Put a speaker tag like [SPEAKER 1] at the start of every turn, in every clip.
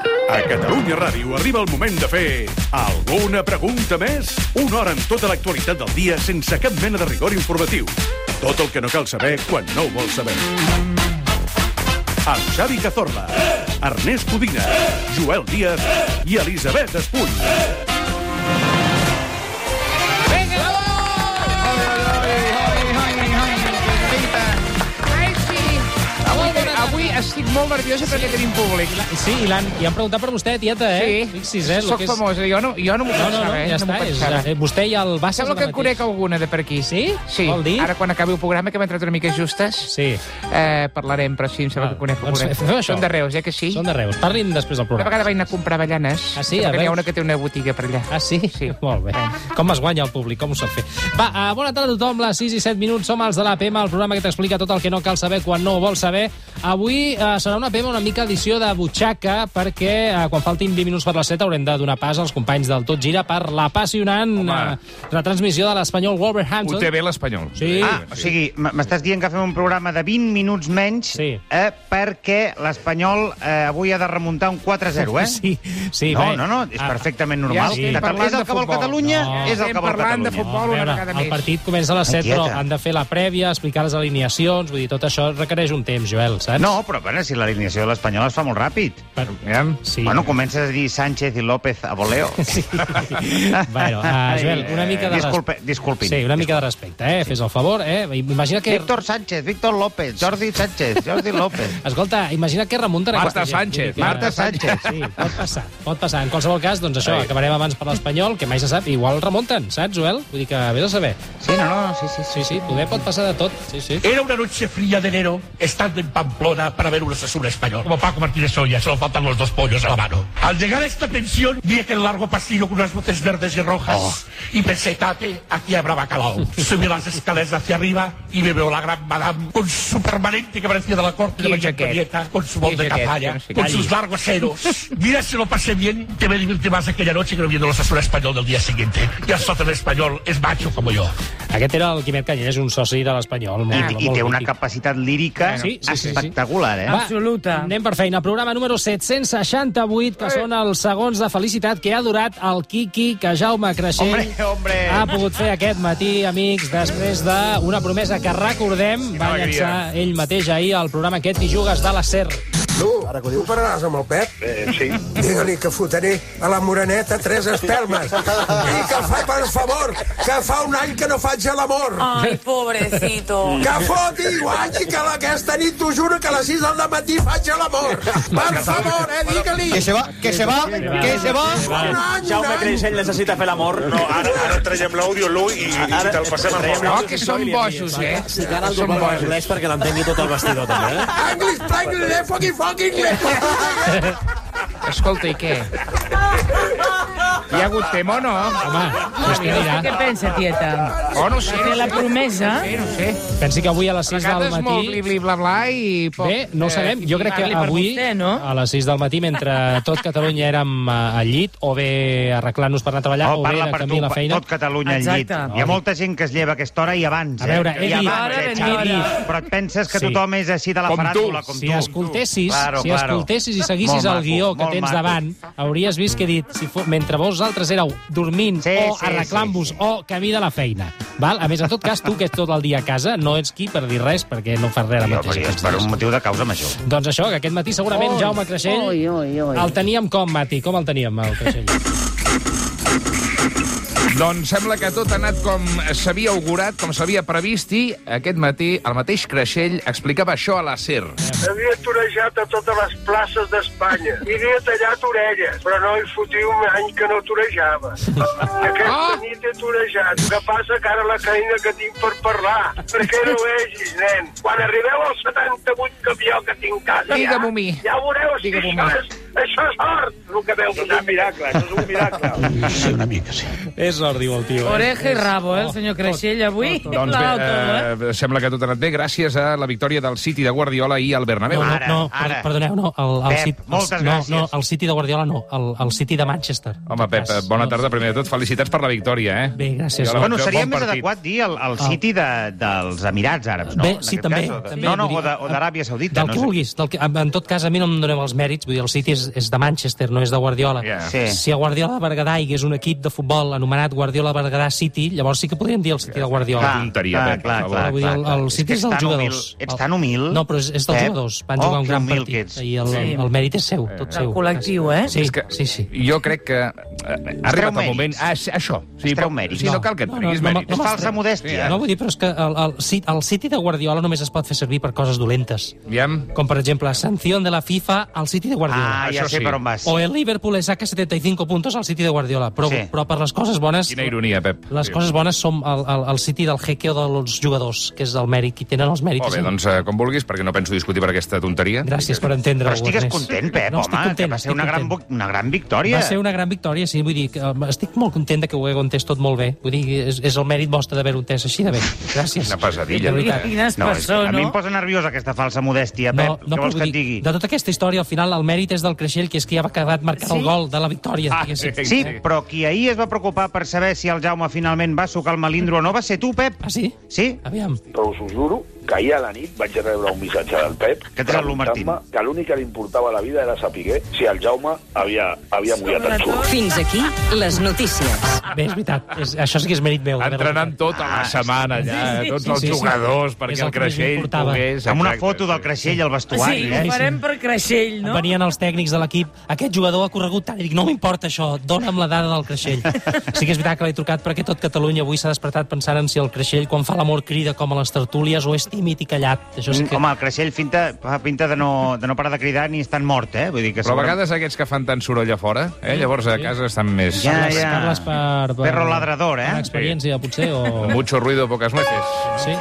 [SPEAKER 1] A Catalunya Ràdio arriba el moment de fer... Alguna pregunta més? Una hora amb tota l'actualitat del dia sense cap mena de rigor informatiu. Tot el que no cal saber quan no ho vols saber. Amb Xavi Cazorla, Ernest Codina, Joel Díaz i Elisabet Espuny.
[SPEAKER 2] Ai, sí.
[SPEAKER 3] Avui, avui estic molt nerviosa perquè tenim públic.
[SPEAKER 4] Sí, i, l'han- i han preguntat per vostè, tieta, eh? Fixi's, eh? el
[SPEAKER 3] Soc
[SPEAKER 4] que és-
[SPEAKER 3] famosa, jo no, jo no m'ho
[SPEAKER 4] No, no, no,
[SPEAKER 3] pensava, eh?
[SPEAKER 4] ja
[SPEAKER 3] no m'ho
[SPEAKER 4] està. És,
[SPEAKER 3] pensava.
[SPEAKER 4] eh, vostè i el Bassa...
[SPEAKER 3] Sembla que en conec alguna de per aquí.
[SPEAKER 4] Sí?
[SPEAKER 3] Sí.
[SPEAKER 4] Vol dir?
[SPEAKER 3] Ara, quan acabi el programa, que hem entrat una mica justes,
[SPEAKER 4] Sí.
[SPEAKER 3] eh, parlarem, però sí, em sembla
[SPEAKER 4] Val,
[SPEAKER 3] que conec
[SPEAKER 4] doncs
[SPEAKER 3] alguna.
[SPEAKER 4] fem això.
[SPEAKER 3] Són de Reus, eh, que sí?
[SPEAKER 4] Són de Reus. Parlin després del
[SPEAKER 3] Una
[SPEAKER 4] programa.
[SPEAKER 3] vegada vaig anar a comprar avellanes.
[SPEAKER 4] Ah, sí?
[SPEAKER 3] Sembla
[SPEAKER 4] A
[SPEAKER 3] que N'hi ha
[SPEAKER 4] Reus?
[SPEAKER 3] una que té una botiga per allà.
[SPEAKER 4] Ah, sí?
[SPEAKER 3] Sí.
[SPEAKER 4] Molt bé. Com es guanya el públic, com ho sap fer. Va, uh, bona tarda a tothom, les 6 i 7 minuts, som els de l'APM, el programa que t'explica tot el que no cal saber quan no ho vols saber. Avui uh, serà una APM una mica edició de butxaca, perquè uh, quan faltin 20 minuts per les 7 haurem de donar pas als companys del Tot Gira per l'apassionant uh, retransmissió de l'Espanyol Wolverhampton.
[SPEAKER 5] Ho té bé l'espanyol.
[SPEAKER 4] Sí.
[SPEAKER 6] Ah, o sigui, m- m'estàs dient que fem un programa de 20 minuts menys
[SPEAKER 4] Sí.
[SPEAKER 6] eh, perquè l'Espanyol eh, avui ha de remuntar un 4-0, eh?
[SPEAKER 4] Sí, sí.
[SPEAKER 6] No,
[SPEAKER 4] bé.
[SPEAKER 6] no, no, és
[SPEAKER 4] Ah,
[SPEAKER 6] perfectament
[SPEAKER 3] Ja
[SPEAKER 6] normal.
[SPEAKER 4] estem
[SPEAKER 6] Cata-
[SPEAKER 3] parlant
[SPEAKER 6] és el
[SPEAKER 3] de
[SPEAKER 6] que vol
[SPEAKER 3] futbol.
[SPEAKER 6] Catalunya,
[SPEAKER 4] No.
[SPEAKER 6] és el
[SPEAKER 3] Estem
[SPEAKER 6] que vol
[SPEAKER 3] parlant de
[SPEAKER 6] Catalunya.
[SPEAKER 3] futbol.
[SPEAKER 4] ah, a
[SPEAKER 3] una
[SPEAKER 4] veure,
[SPEAKER 3] vegada
[SPEAKER 4] El
[SPEAKER 3] més.
[SPEAKER 4] partit comença a les 7, però
[SPEAKER 6] tieta.
[SPEAKER 4] han de fer la prèvia, explicar les alineacions, vull dir, tot això requereix un temps, Joel, saps?
[SPEAKER 6] No, però bueno, si l'alineació de l'Espanyol es fa molt ràpid.
[SPEAKER 4] Per...
[SPEAKER 5] Aviam.
[SPEAKER 4] Sí.
[SPEAKER 6] Bueno, comences a dir Sánchez i López a voleo.
[SPEAKER 4] Sí. bueno, uh, Joel, una mica de... res-
[SPEAKER 6] eh, Disculpe, disculpin.
[SPEAKER 4] Sí, una mica de respecte, eh? Fes el favor, eh? Imagina que...
[SPEAKER 6] Víctor Sánchez, Víctor López, Jordi Sánchez, Jordi López.
[SPEAKER 4] Escolta, imagina què remunten
[SPEAKER 5] Marta
[SPEAKER 4] aquesta gent.
[SPEAKER 5] Sánchez,
[SPEAKER 4] Vull dir que-
[SPEAKER 6] Marta Sánchez.
[SPEAKER 4] Sí, pot passar, pot passar. En qualsevol cas, doncs això,
[SPEAKER 5] Ai.
[SPEAKER 4] acabarem abans per l'Espanyol, que mai se sap, igual remunten, saps, Joel? Vull dir que vés a saber.
[SPEAKER 6] Sí, no, no, sí, sí. sí.
[SPEAKER 4] Sí, sí, poder pot passar de tot, sí, sí.
[SPEAKER 7] Era una noche fría de enero, estando en Pamplona para ver un Osasuna español. Como Paco Martínez Soya, solo faltan los dos pollos a la mano. Al llegar a esta pensión, vi aquel largo pasillo con unas luces verdes y rojas. Y pensé, tate, aquí habrá bacalao. Subí las escaleras hacia arriba y me veo la gran madame con su permanente que parecía de la corte de
[SPEAKER 3] Qué
[SPEAKER 7] María
[SPEAKER 3] jaquet.
[SPEAKER 7] Antonieta, con su voz
[SPEAKER 3] Qué
[SPEAKER 7] de
[SPEAKER 3] jaquet,
[SPEAKER 7] cazalla,
[SPEAKER 3] que no se
[SPEAKER 7] con
[SPEAKER 3] calle.
[SPEAKER 7] sus largos heros. Mira si lo pasé bien, que me divertí más aquella noche que no viendo los Osasuna español del día siguiente. Y el socio del español es macho como yo.
[SPEAKER 4] Aquest era el Quimet Canyelles, un soci de l'Espanyol.
[SPEAKER 6] I,
[SPEAKER 4] Ah, molt-
[SPEAKER 6] I
[SPEAKER 4] molt
[SPEAKER 6] té una eh?
[SPEAKER 4] mític.
[SPEAKER 6] capacitat lírica
[SPEAKER 4] Sí, sí, sí, sí.
[SPEAKER 6] espectacular, eh?
[SPEAKER 4] Va, Absoluta. Anem per feina. Programa número 768, que són els segons de felicitat que ha durat el Kiki que Jaume Creixell
[SPEAKER 6] Hombre, hombre.
[SPEAKER 4] ha pogut fer aquest matí, amics, després d'una promesa que recordem va
[SPEAKER 5] alegria.
[SPEAKER 4] llançar ell mateix ahir al programa aquest i jugues de la SER.
[SPEAKER 8] Tu, ara que ho diu, pararàs amb el Pep? Eh, sí. Digue-li que fotré a la Moreneta tres espelmes. I que fa, per favor, que fa un any que no faig l'amor.
[SPEAKER 9] Ay, pobrecito.
[SPEAKER 8] Que foti i guanyi, que la- aquesta nit t'ho juro que a les 6 del matí faig l'amor. Per favor, eh, digue-li. Que se va, que se va, que se va. Un any, un any.
[SPEAKER 10] necessita fer l'amor. No, ara, ara traiem l'àudio, Lu, i, i te'l passem a
[SPEAKER 3] No, Oh, que són bojos, eh? Són bojos.
[SPEAKER 10] perquè l'entengui tot el vestidor, també, eh?
[SPEAKER 8] English, Franklin, eh, fucking, fucking, eh.
[SPEAKER 3] Escolta, i què? Hi ha hagut tema o no?
[SPEAKER 4] Home, vostè
[SPEAKER 2] Què
[SPEAKER 4] dirà.
[SPEAKER 2] pensa, tieta?
[SPEAKER 3] Oh, no ho sé,
[SPEAKER 2] De
[SPEAKER 3] no
[SPEAKER 2] la
[SPEAKER 3] ho sé.
[SPEAKER 2] promesa?
[SPEAKER 3] Eh, no ho sé.
[SPEAKER 4] Pensi que avui a les
[SPEAKER 3] A
[SPEAKER 4] 6 del
[SPEAKER 3] vegades molt
[SPEAKER 4] matí...
[SPEAKER 3] bli-bli-bla-bla i... Poc,
[SPEAKER 4] Bé, no ho
[SPEAKER 11] eh,
[SPEAKER 4] sabem. Jo crec que
[SPEAKER 2] parli eh, per
[SPEAKER 4] avui,
[SPEAKER 2] vostè, no?
[SPEAKER 4] a les 6 del matí, mentre tot Catalunya érem eh, al llit, o bé arreglant-nos per anar a treballar,
[SPEAKER 6] No,
[SPEAKER 4] o bé
[SPEAKER 6] parla
[SPEAKER 4] de
[SPEAKER 6] per
[SPEAKER 4] camí
[SPEAKER 6] tu,
[SPEAKER 4] a la
[SPEAKER 6] pa-
[SPEAKER 4] feina...
[SPEAKER 6] tot Catalunya al llit.
[SPEAKER 2] Exacte.
[SPEAKER 6] Hi ha molta gent que es lleva a aquesta hora i abans.
[SPEAKER 4] A veure,
[SPEAKER 6] eh?
[SPEAKER 4] he
[SPEAKER 6] I
[SPEAKER 4] dit,
[SPEAKER 6] abans,
[SPEAKER 2] Ara ben
[SPEAKER 6] Xavi.
[SPEAKER 2] d'hora.
[SPEAKER 6] Però et penses que
[SPEAKER 4] Sí.
[SPEAKER 6] tothom és així de la
[SPEAKER 5] Com tu.
[SPEAKER 6] faràndula, com
[SPEAKER 4] si
[SPEAKER 6] tu.
[SPEAKER 4] escoltessis,
[SPEAKER 6] Claro,
[SPEAKER 4] si
[SPEAKER 6] claro.
[SPEAKER 4] escoltessis i seguissis
[SPEAKER 6] Molt
[SPEAKER 4] el
[SPEAKER 6] maco,
[SPEAKER 4] guió que
[SPEAKER 6] molt
[SPEAKER 4] tens
[SPEAKER 6] maco.
[SPEAKER 4] davant, hauries vist que he dit, si fo... mentre vosaltres éreu dormint
[SPEAKER 6] Sí,
[SPEAKER 4] o
[SPEAKER 6] sí,
[SPEAKER 4] arreglant-vos
[SPEAKER 6] sí, sí.
[SPEAKER 4] o camí de la feina. Val? A més, en tot cas, tu que ets tot el dia a casa, no ets qui per dir res, perquè no fas res ara
[SPEAKER 6] Jo,
[SPEAKER 4] mateix.
[SPEAKER 6] però és
[SPEAKER 4] aquests
[SPEAKER 6] per
[SPEAKER 4] dies.
[SPEAKER 6] un motiu de causa major.
[SPEAKER 4] Doncs això, que aquest matí segurament
[SPEAKER 2] Oi,
[SPEAKER 4] Jaume Creixell
[SPEAKER 2] oi, oi, oi.
[SPEAKER 4] el teníem com, Mati? Com el teníem, el Creixell?
[SPEAKER 3] Doncs sembla que tot ha anat com s'havia augurat, com s'havia previst, i aquest matí el mateix Creixell explicava això a la SER.
[SPEAKER 8] Havia torejat a totes les places d'Espanya. I havia tallat orelles, però no hi fotia un any que no torejava. Aquesta
[SPEAKER 3] Ah!
[SPEAKER 8] nit he torejat. El que passa que ara la feina que tinc per parlar, perquè no vegis, nen. Quan arribeu al 78 camió que tinc a casa,
[SPEAKER 3] Digue-m'ho
[SPEAKER 8] ja,
[SPEAKER 3] a mi.
[SPEAKER 8] ja veureu si
[SPEAKER 3] Digue-m'ho a
[SPEAKER 8] això
[SPEAKER 3] mi.
[SPEAKER 8] és, això és art.
[SPEAKER 10] el que veu. Això és un miracle, això és un miracle.
[SPEAKER 7] Sí, una mica, sí.
[SPEAKER 4] És sort, diu el tio. Eh?
[SPEAKER 9] Oreja i rabo, eh, el senyor Creixell, avui.
[SPEAKER 3] Doncs
[SPEAKER 9] la
[SPEAKER 3] bé,
[SPEAKER 9] auto, eh?
[SPEAKER 3] eh, sembla que tot ha anat bé gràcies a la victòria del City de Guardiola i al Bernabéu.
[SPEAKER 4] No, no,
[SPEAKER 6] Ara,
[SPEAKER 4] no,
[SPEAKER 6] ara.
[SPEAKER 4] per- perdoneu, no. El, el
[SPEAKER 6] Pep,
[SPEAKER 4] City,
[SPEAKER 6] moltes
[SPEAKER 4] no,
[SPEAKER 6] gràcies.
[SPEAKER 4] no, el City de Guardiola no, el, el City de Manchester.
[SPEAKER 3] Home, Pep, eh, bona
[SPEAKER 4] No.
[SPEAKER 3] tarda, primer de tot. Felicitats per la victòria, eh?
[SPEAKER 4] Bé, gràcies.
[SPEAKER 3] Guardiola,
[SPEAKER 6] Bueno,
[SPEAKER 3] bon
[SPEAKER 6] seria més
[SPEAKER 3] partit.
[SPEAKER 6] adequat dir el, el City de, dels Emirats Àrabs, no?
[SPEAKER 4] Bé,
[SPEAKER 6] En
[SPEAKER 4] sí,
[SPEAKER 6] aquest
[SPEAKER 4] també,
[SPEAKER 6] o de-
[SPEAKER 4] també,
[SPEAKER 6] No, no,
[SPEAKER 4] vull
[SPEAKER 6] o
[SPEAKER 4] dir,
[SPEAKER 6] de- o d'Aràbia Saudita.
[SPEAKER 4] Del
[SPEAKER 6] no
[SPEAKER 4] que
[SPEAKER 6] sé.
[SPEAKER 4] vulguis. Del que, en en tot cas, a mi no em doneu els mèrits. Vull dir, el City és, és de Manchester, no és de Guardiola.
[SPEAKER 3] Ja.
[SPEAKER 6] Sí.
[SPEAKER 4] Si a Guardiola de Berguedà hi hagués un equip de futbol anomenat Guardiola Berguedà City, llavors sí que podríem dir el City de Guardiola.
[SPEAKER 3] Clar. tonteria, Pep, per favor.
[SPEAKER 4] Vull dir, el, el
[SPEAKER 6] que
[SPEAKER 4] City és,
[SPEAKER 6] ets
[SPEAKER 4] dels
[SPEAKER 6] tan
[SPEAKER 4] jugadors.
[SPEAKER 6] Humil, ets tan humil.
[SPEAKER 4] No, però és, és dels
[SPEAKER 6] Pep.
[SPEAKER 4] jugadors. Van
[SPEAKER 6] Oh,
[SPEAKER 4] jugar un
[SPEAKER 6] que
[SPEAKER 4] gran
[SPEAKER 6] humil
[SPEAKER 4] partit.
[SPEAKER 6] que ets.
[SPEAKER 4] I el,
[SPEAKER 9] Sí.
[SPEAKER 4] el mèrit és seu, tot
[SPEAKER 9] El
[SPEAKER 4] seu.
[SPEAKER 9] col·lectiu, eh?
[SPEAKER 4] Sí,
[SPEAKER 3] És que
[SPEAKER 4] sí, sí.
[SPEAKER 3] Jo crec que eh, ha arribat el
[SPEAKER 6] treu
[SPEAKER 3] moment...
[SPEAKER 6] mèrits.
[SPEAKER 3] Ah, sí, això.
[SPEAKER 6] Es treu
[SPEAKER 3] po-
[SPEAKER 6] mèrits.
[SPEAKER 3] Sí, no
[SPEAKER 4] No,
[SPEAKER 3] cal que et
[SPEAKER 4] no,
[SPEAKER 3] treguis
[SPEAKER 4] no, no,
[SPEAKER 3] mèrits.
[SPEAKER 4] no,
[SPEAKER 6] És
[SPEAKER 4] no.
[SPEAKER 6] falsa modèstia.
[SPEAKER 4] No, vull dir, però és que el, el, Cit- el City de Guardiola només es pot fer servir per coses dolentes.
[SPEAKER 3] Aviam.
[SPEAKER 4] Com, per exemple, sanció de la FIFA al City de Guardiola.
[SPEAKER 6] Ah,
[SPEAKER 3] Això
[SPEAKER 6] ja sé
[SPEAKER 3] sí.
[SPEAKER 6] per on vas.
[SPEAKER 4] O el Liverpool le saca 75 puntos al City de Guardiola. Però,
[SPEAKER 6] Sí.
[SPEAKER 4] sí. però per les coses bones...
[SPEAKER 3] Quina ironia, Pep.
[SPEAKER 4] Les
[SPEAKER 3] Sí.
[SPEAKER 4] coses bones som el, el, el City del jeque o dels jugadors, que és el mèrit, qui tenen els mèrits.
[SPEAKER 3] Molt bé,
[SPEAKER 4] és el-
[SPEAKER 3] doncs eh, com vulguis, perquè no penso discutir per aquesta tonteria.
[SPEAKER 4] Gràcies per entendre-ho,
[SPEAKER 6] Però estigues
[SPEAKER 4] Ernest.
[SPEAKER 6] content, Pep,
[SPEAKER 4] no,
[SPEAKER 6] home,
[SPEAKER 4] estic
[SPEAKER 6] que
[SPEAKER 4] content,
[SPEAKER 6] va ser
[SPEAKER 4] estic
[SPEAKER 6] una gran,
[SPEAKER 4] content.
[SPEAKER 6] vo- una gran victòria.
[SPEAKER 4] Va ser una gran victòria, sí, vull dir, que, eh, estic molt content de que ho he entès tot molt bé. Vull dir, és, és el mèrit vostre d'haver-ho entès així de bé. Gràcies.
[SPEAKER 3] Una pesadilla.
[SPEAKER 4] De veritat.
[SPEAKER 9] Quines
[SPEAKER 6] No, és, que a
[SPEAKER 9] persones,
[SPEAKER 6] mi em
[SPEAKER 9] no?
[SPEAKER 6] posa nerviosa aquesta falsa modèstia,
[SPEAKER 4] No,
[SPEAKER 6] Pep.
[SPEAKER 4] no,
[SPEAKER 6] Què vols
[SPEAKER 4] vull
[SPEAKER 6] que et
[SPEAKER 4] dir,
[SPEAKER 6] digui?
[SPEAKER 4] de tota aquesta història, al final, el mèrit és del Creixell, que és qui ha acabat marcant
[SPEAKER 9] Sí?
[SPEAKER 4] el gol de la victòria.
[SPEAKER 3] Ah,
[SPEAKER 4] diguéssim.
[SPEAKER 6] Sí, però qui ahir es va preocupar per saber si el Jaume finalment va sucar el melindro o no va ser tu, Pep.
[SPEAKER 4] Ah, sí?
[SPEAKER 6] Sí?
[SPEAKER 4] Aviam.
[SPEAKER 5] Però us ho juro que ahir a la nit vaig rebre un missatge del Pep
[SPEAKER 6] Què et sembla, Martín?
[SPEAKER 5] preguntant-me que l'únic que li importava a la vida era saber si el Jaume havia, havia mullat el xurro.
[SPEAKER 12] Fins aquí les notícies.
[SPEAKER 4] Bé, és veritat. És, això sí que és mèrit meu. d'haver-ho
[SPEAKER 3] Entrenant
[SPEAKER 4] entrat.
[SPEAKER 3] tota la setmana allà,
[SPEAKER 9] sí,
[SPEAKER 3] tots
[SPEAKER 4] Ah, sí,
[SPEAKER 3] els
[SPEAKER 4] sí, sí.
[SPEAKER 3] jugadors,
[SPEAKER 4] És
[SPEAKER 3] perquè
[SPEAKER 4] el
[SPEAKER 3] el
[SPEAKER 4] que més
[SPEAKER 3] Creixell
[SPEAKER 4] importava.
[SPEAKER 3] pogués...
[SPEAKER 6] Amb una
[SPEAKER 3] Exacte,
[SPEAKER 6] foto del
[SPEAKER 3] sí.
[SPEAKER 6] Creixell al vestuari,
[SPEAKER 9] Sí,
[SPEAKER 6] eh?
[SPEAKER 9] ho farem per Creixell,
[SPEAKER 4] No?
[SPEAKER 9] no?
[SPEAKER 4] Venien els tècnics de l'equip. Aquest jugador ha corregut tant. I dic, no m'importa això, dona'm la dada del Creixell. sí que és veritat que l'he trucat perquè tot Catalunya avui s'ha despertat pensant en si el Creixell, quan fa l'amor, crida com a les tertúlies o és tímid i callat. Això sí que...
[SPEAKER 6] Mm, Home, el Creixell finta, fa pinta de no, de no parar de cridar ni estan mort, eh? Vull dir que
[SPEAKER 3] Però a
[SPEAKER 6] segurament-
[SPEAKER 3] vegades aquests que fan tant soroll a fora, eh? llavors a casa estan més...
[SPEAKER 6] Ja,
[SPEAKER 4] Parles, parles per, per...
[SPEAKER 6] Perro ladrador, eh?
[SPEAKER 4] Per experiència, potser, o...
[SPEAKER 3] Mucho ruido, pocas nueces.
[SPEAKER 4] Sí.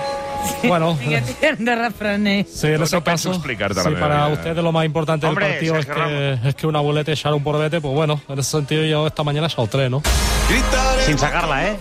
[SPEAKER 4] Bueno,
[SPEAKER 9] Digue'm de refrener.
[SPEAKER 4] Sí, en
[SPEAKER 3] No,
[SPEAKER 4] ese
[SPEAKER 3] no pienso
[SPEAKER 4] caso,
[SPEAKER 3] explicarte
[SPEAKER 4] si
[SPEAKER 3] la
[SPEAKER 4] para
[SPEAKER 3] realidad.
[SPEAKER 4] ustedes lo más importante
[SPEAKER 6] Hombre,
[SPEAKER 4] del partido es
[SPEAKER 6] Sergio
[SPEAKER 4] que, es que un abuelete echara un porbete, pues bueno, en ese sentido yo esta mañana saltré, ¿no?
[SPEAKER 6] Sin sacar-la, eh?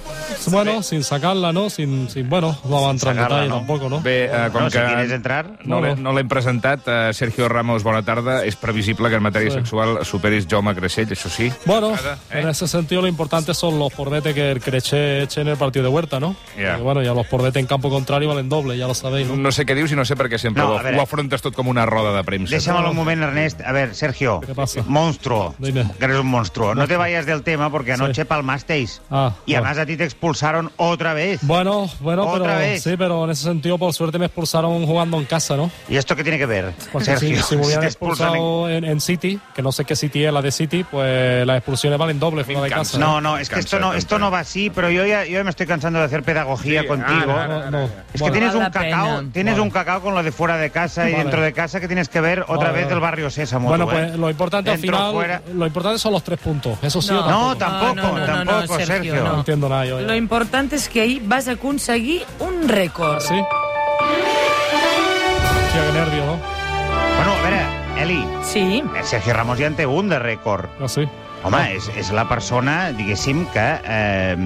[SPEAKER 4] Bueno, sin sacarla, ¿no? Sin, sin bueno, no va a entrar en
[SPEAKER 6] sacarla,
[SPEAKER 4] detalle
[SPEAKER 6] ¿no?
[SPEAKER 4] tampoco, ¿no?
[SPEAKER 3] Bé, eh, com
[SPEAKER 6] No, si
[SPEAKER 3] que...
[SPEAKER 6] quieres entrar...
[SPEAKER 3] No l'he- no l'hem presentat. Eh, Sergio Ramos, bona tarda. És previsible que en matèria
[SPEAKER 4] Sí.
[SPEAKER 3] sexual superis Jaume Creixell, això sí.
[SPEAKER 4] Bueno,
[SPEAKER 3] Nada, ¿eh?
[SPEAKER 4] en ese sentido lo importante son los porbetes que el Creche eche en el partido de Huerta, ¿no?
[SPEAKER 3] Ya.
[SPEAKER 4] Porque, bueno, ya los porbetes en campo contrario valen doble, ya lo sabéis,
[SPEAKER 6] Mm.
[SPEAKER 4] ¿no?
[SPEAKER 3] No sé què dius i no sé per què sempre
[SPEAKER 6] No,
[SPEAKER 3] no,
[SPEAKER 6] a veure.
[SPEAKER 3] ho afrontes tot com una roda de premsa.
[SPEAKER 6] Déjamelo un moment, Ernest. A ver, Sergio.
[SPEAKER 4] ¿Qué pasa?
[SPEAKER 6] Monstruo.
[SPEAKER 4] Dime.
[SPEAKER 6] Que eres un monstruo. No te vayas del tema porque anoche palmasteis.
[SPEAKER 4] Ah,
[SPEAKER 6] y
[SPEAKER 4] bueno.
[SPEAKER 6] además a ti te expulsaron otra vez.
[SPEAKER 4] Bueno, bueno,
[SPEAKER 6] Otra
[SPEAKER 4] pero
[SPEAKER 6] vez.
[SPEAKER 4] sí, pero en ese sentido por suerte me expulsaron jugando en casa, ¿no?
[SPEAKER 6] ¿Y esto qué tiene que ver,
[SPEAKER 4] Porque Pues si,
[SPEAKER 6] Sergio?
[SPEAKER 4] si me hubieran
[SPEAKER 6] te expulsan en-
[SPEAKER 4] expulsado en, en City, que no sé qué City es la de City, pues las expulsiones valen doble fuera de casa.
[SPEAKER 6] No, no, es que
[SPEAKER 3] Cansa,
[SPEAKER 6] esto no,
[SPEAKER 3] cansa.
[SPEAKER 6] esto no va así, pero yo ya, yo ya me estoy cansando de hacer pedagogía contigo.
[SPEAKER 4] ah, No, no.
[SPEAKER 6] Es que
[SPEAKER 4] Bueno,
[SPEAKER 6] tienes
[SPEAKER 9] Vale
[SPEAKER 6] un
[SPEAKER 9] la
[SPEAKER 6] cacao,
[SPEAKER 9] pena.
[SPEAKER 6] tienes
[SPEAKER 4] Vale.
[SPEAKER 6] un cacao con lo de fuera de casa y
[SPEAKER 4] Vale.
[SPEAKER 6] dentro de casa que tienes que ver otra
[SPEAKER 4] Vale,
[SPEAKER 6] vez
[SPEAKER 4] vale.
[SPEAKER 6] el barrio Sésamo.
[SPEAKER 4] bueno,
[SPEAKER 6] tú, ¿eh?
[SPEAKER 4] pues lo importante al
[SPEAKER 6] Dentro,
[SPEAKER 4] final,
[SPEAKER 6] fuera.
[SPEAKER 4] lo importante son los tres puntos. Eso sí,
[SPEAKER 9] No.
[SPEAKER 4] o
[SPEAKER 6] No,
[SPEAKER 4] tampoco.
[SPEAKER 6] tampoco,
[SPEAKER 9] No, no, no, no,
[SPEAKER 6] tampoco,
[SPEAKER 9] Sergio,
[SPEAKER 6] Sergio.
[SPEAKER 9] no.
[SPEAKER 4] No entiendo nada yo. ya.
[SPEAKER 9] Lo importante es que ahí vas a aconseguir un rècord.
[SPEAKER 4] ¿Sí? Hostia, qué nervio, ¿no?
[SPEAKER 6] Bueno, a ver, Eli,
[SPEAKER 9] Sí.
[SPEAKER 6] eh, Sergio Ramos ja en té un de rècord.
[SPEAKER 4] Así.
[SPEAKER 6] Home, és, és la persona, diguéssim, que eh,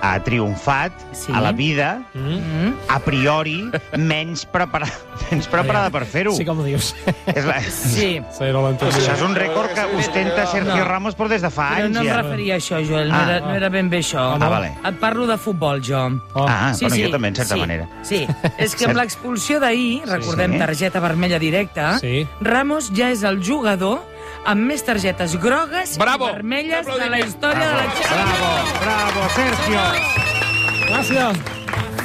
[SPEAKER 6] ha triomfat
[SPEAKER 9] Sí.
[SPEAKER 6] a la vida,
[SPEAKER 9] Mm.
[SPEAKER 6] a priori, menys, prepara... menys preparada per fer-ho.
[SPEAKER 4] Sí, como dios.
[SPEAKER 6] És la...
[SPEAKER 9] Sí.
[SPEAKER 4] sí, no lo entendí.
[SPEAKER 6] Això és un rècord que ostenta Sergio
[SPEAKER 9] No.
[SPEAKER 6] Ramos però des de fa
[SPEAKER 9] Però
[SPEAKER 6] anys
[SPEAKER 9] no em
[SPEAKER 6] ja.
[SPEAKER 9] referia a això, Joel, no,
[SPEAKER 6] Ah.
[SPEAKER 9] era, no era ben bé això.
[SPEAKER 6] Ah, vale.
[SPEAKER 9] Et parlo de futbol, jo.
[SPEAKER 6] Ah, però jo també, en certa
[SPEAKER 9] sí,
[SPEAKER 6] manera.
[SPEAKER 9] Sí, és que amb l'expulsió d'ahir, recordem
[SPEAKER 6] Sí.
[SPEAKER 9] targeta vermella directa,
[SPEAKER 4] Sí.
[SPEAKER 9] Ramos ja és el jugador amb més targetes grogues
[SPEAKER 3] Bravo!
[SPEAKER 9] i vermelles de la història de la Champions.
[SPEAKER 6] Bravo, bravo, Sergio! Ah.
[SPEAKER 4] Gracias.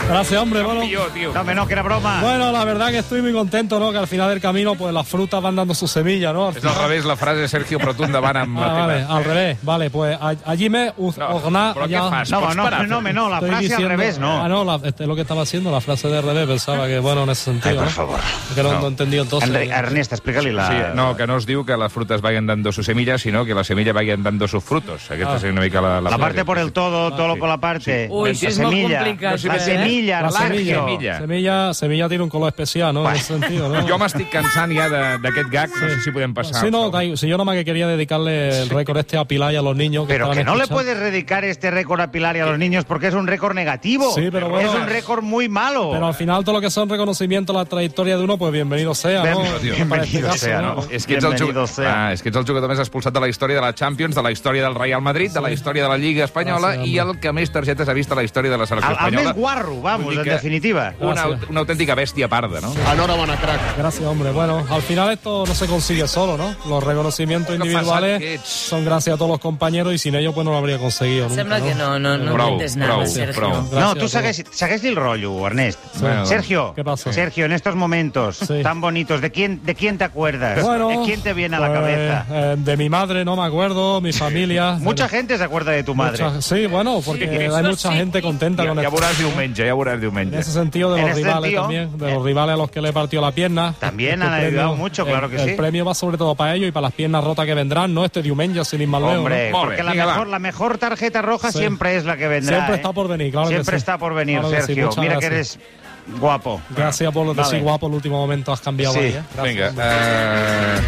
[SPEAKER 4] Gracias, hombre, bueno.
[SPEAKER 3] Jo, tio.
[SPEAKER 6] No, home, no, que era broma.
[SPEAKER 4] Bueno, la verdad que estoy muy contento, ¿no? Que al final del camino, pues las frutas van dando sus semillas, ¿no? Al
[SPEAKER 3] És al revés la frase, Sergio, però tu endavant amb la
[SPEAKER 4] Ah,
[SPEAKER 3] teva.
[SPEAKER 4] vale, al revés. Vale, pues a- allí me uz-
[SPEAKER 3] No,
[SPEAKER 4] ogna-
[SPEAKER 3] però
[SPEAKER 4] ya-
[SPEAKER 3] què fas?
[SPEAKER 6] No,
[SPEAKER 3] Pots
[SPEAKER 6] no,
[SPEAKER 3] parar,
[SPEAKER 6] no, home, no, la
[SPEAKER 4] Estoy
[SPEAKER 6] frase al
[SPEAKER 4] diciendo-
[SPEAKER 6] revés,
[SPEAKER 4] Ah,
[SPEAKER 6] no.
[SPEAKER 4] no, la- este, lo que estaba haciendo, la frase de revés, pensaba que, bueno, en ese sentido.
[SPEAKER 6] Ai, per
[SPEAKER 4] ¿no?
[SPEAKER 6] favor.
[SPEAKER 4] Que no,
[SPEAKER 3] No.
[SPEAKER 4] no entendí entonces.
[SPEAKER 6] Enri- Ernest, explica-li la...
[SPEAKER 3] Sí,
[SPEAKER 10] Eh,
[SPEAKER 3] no, que no es diu que les frutes vayan dando sus semillas, sinó que la semilla vayan dando sus frutos. Aquesta
[SPEAKER 4] Ah.
[SPEAKER 3] és una mica la...
[SPEAKER 6] La parte por el todo, todo por la parte.
[SPEAKER 9] Ui,
[SPEAKER 6] La
[SPEAKER 9] això és molt
[SPEAKER 6] semilla.
[SPEAKER 9] complicat,
[SPEAKER 6] La
[SPEAKER 9] eh?
[SPEAKER 6] semilla. Semilla,
[SPEAKER 10] La
[SPEAKER 6] Arlangio.
[SPEAKER 10] semilla. Semilla, semilla tiene un color especial, ¿no? En ese sentido, ¿no?
[SPEAKER 3] Jo m'estic cansant ja de- d'aquest gag, no sé si podem passar.
[SPEAKER 10] Sí, no, da- si yo nomás que quería dedicarle el récord este a Pilar y a los niños que
[SPEAKER 6] Pero
[SPEAKER 10] estaban
[SPEAKER 6] que no le
[SPEAKER 10] escuchando.
[SPEAKER 6] puedes dedicar este récord a Pilar y a los niños porque es un récord negativo.
[SPEAKER 10] Sí, pero bueno.
[SPEAKER 6] es un récord muy malo.
[SPEAKER 10] Pero al final todo lo que son reconocimientos a la trayectoria de uno, pues bienvenido sea, ¿no? Para este caso,
[SPEAKER 3] És que, ets el jugador, ah, és que ets el jugador més expulsat de la història de la Champions, de la història del Real Madrid, de la història de la Lliga Espanyola
[SPEAKER 10] Ah,
[SPEAKER 6] Gràcies,
[SPEAKER 3] i el que més targetes ha vist a la història de la selecció
[SPEAKER 6] El, el
[SPEAKER 3] espanyola.
[SPEAKER 6] més guarro, vamos,
[SPEAKER 3] Vull dir
[SPEAKER 6] en
[SPEAKER 3] que
[SPEAKER 6] definitiva.
[SPEAKER 3] Una, aut- una autèntica bèstia parda, no?
[SPEAKER 10] Enhorabuena, crack. Gracias, hombre. Bueno, al final esto no se consigue solo, ¿no? Los reconocimientos individuales son gracias a todos los compañeros y sin ellos pues no lo habría conseguido nunca,
[SPEAKER 9] Sembla que no, no, no Prou, inventes nada, prou, Sergio. prou.
[SPEAKER 6] No,
[SPEAKER 10] Gracias a
[SPEAKER 6] tú segues, segues el rollo, Ernest.
[SPEAKER 10] Bueno,
[SPEAKER 6] Sergio,
[SPEAKER 10] ¿qué pasó?
[SPEAKER 6] Sergio, en estos momentos tan bonitos, ¿de quién, ¿de quién te acuerdas?
[SPEAKER 10] Bueno,
[SPEAKER 6] ¿De quién te viene a la
[SPEAKER 10] pues,
[SPEAKER 6] cabeza?
[SPEAKER 10] eh, de mi madre no me acuerdo, mi familia.
[SPEAKER 6] Mucha gente se acuerda de tu madre.
[SPEAKER 10] Mucha- sí, bueno, porque hay mucha gente contenta
[SPEAKER 3] Ja,
[SPEAKER 10] con
[SPEAKER 3] ja
[SPEAKER 10] esto.
[SPEAKER 3] veuràs diumenge, ja veuràs
[SPEAKER 10] En
[SPEAKER 3] diumenge.
[SPEAKER 10] ese sentido, de
[SPEAKER 3] En
[SPEAKER 10] los
[SPEAKER 3] ese
[SPEAKER 10] rivales
[SPEAKER 3] sentido,
[SPEAKER 10] también, de los rivales a los que le partió la pierna.
[SPEAKER 6] eh, También
[SPEAKER 10] El
[SPEAKER 6] han
[SPEAKER 10] premio-
[SPEAKER 6] ayudado mucho, claro que
[SPEAKER 10] el,
[SPEAKER 6] sí.
[SPEAKER 10] El premio va sobre todo para ellos y para las piernas rotas que vendrán, ¿no? Este diumenge, sin ir más lejos,
[SPEAKER 6] Hombre,
[SPEAKER 10] ¿no?
[SPEAKER 6] porque la mejor, la mejor tarjeta roja
[SPEAKER 10] Sí.
[SPEAKER 6] siempre es la que vendrá.
[SPEAKER 10] Siempre
[SPEAKER 6] ¿eh?
[SPEAKER 10] está por venir, claro que
[SPEAKER 6] Siempre
[SPEAKER 10] sí.
[SPEAKER 6] está por venir,
[SPEAKER 10] Claro que sí,
[SPEAKER 6] Sergio.
[SPEAKER 10] muchas
[SPEAKER 6] Mira que
[SPEAKER 10] gracias.
[SPEAKER 6] eres guapo.
[SPEAKER 10] Gracias por lo que
[SPEAKER 6] Vale.
[SPEAKER 10] sí, guapo, el último momento has cambiado ahí,
[SPEAKER 3] Sí,
[SPEAKER 10] ¿eh?
[SPEAKER 3] vinga.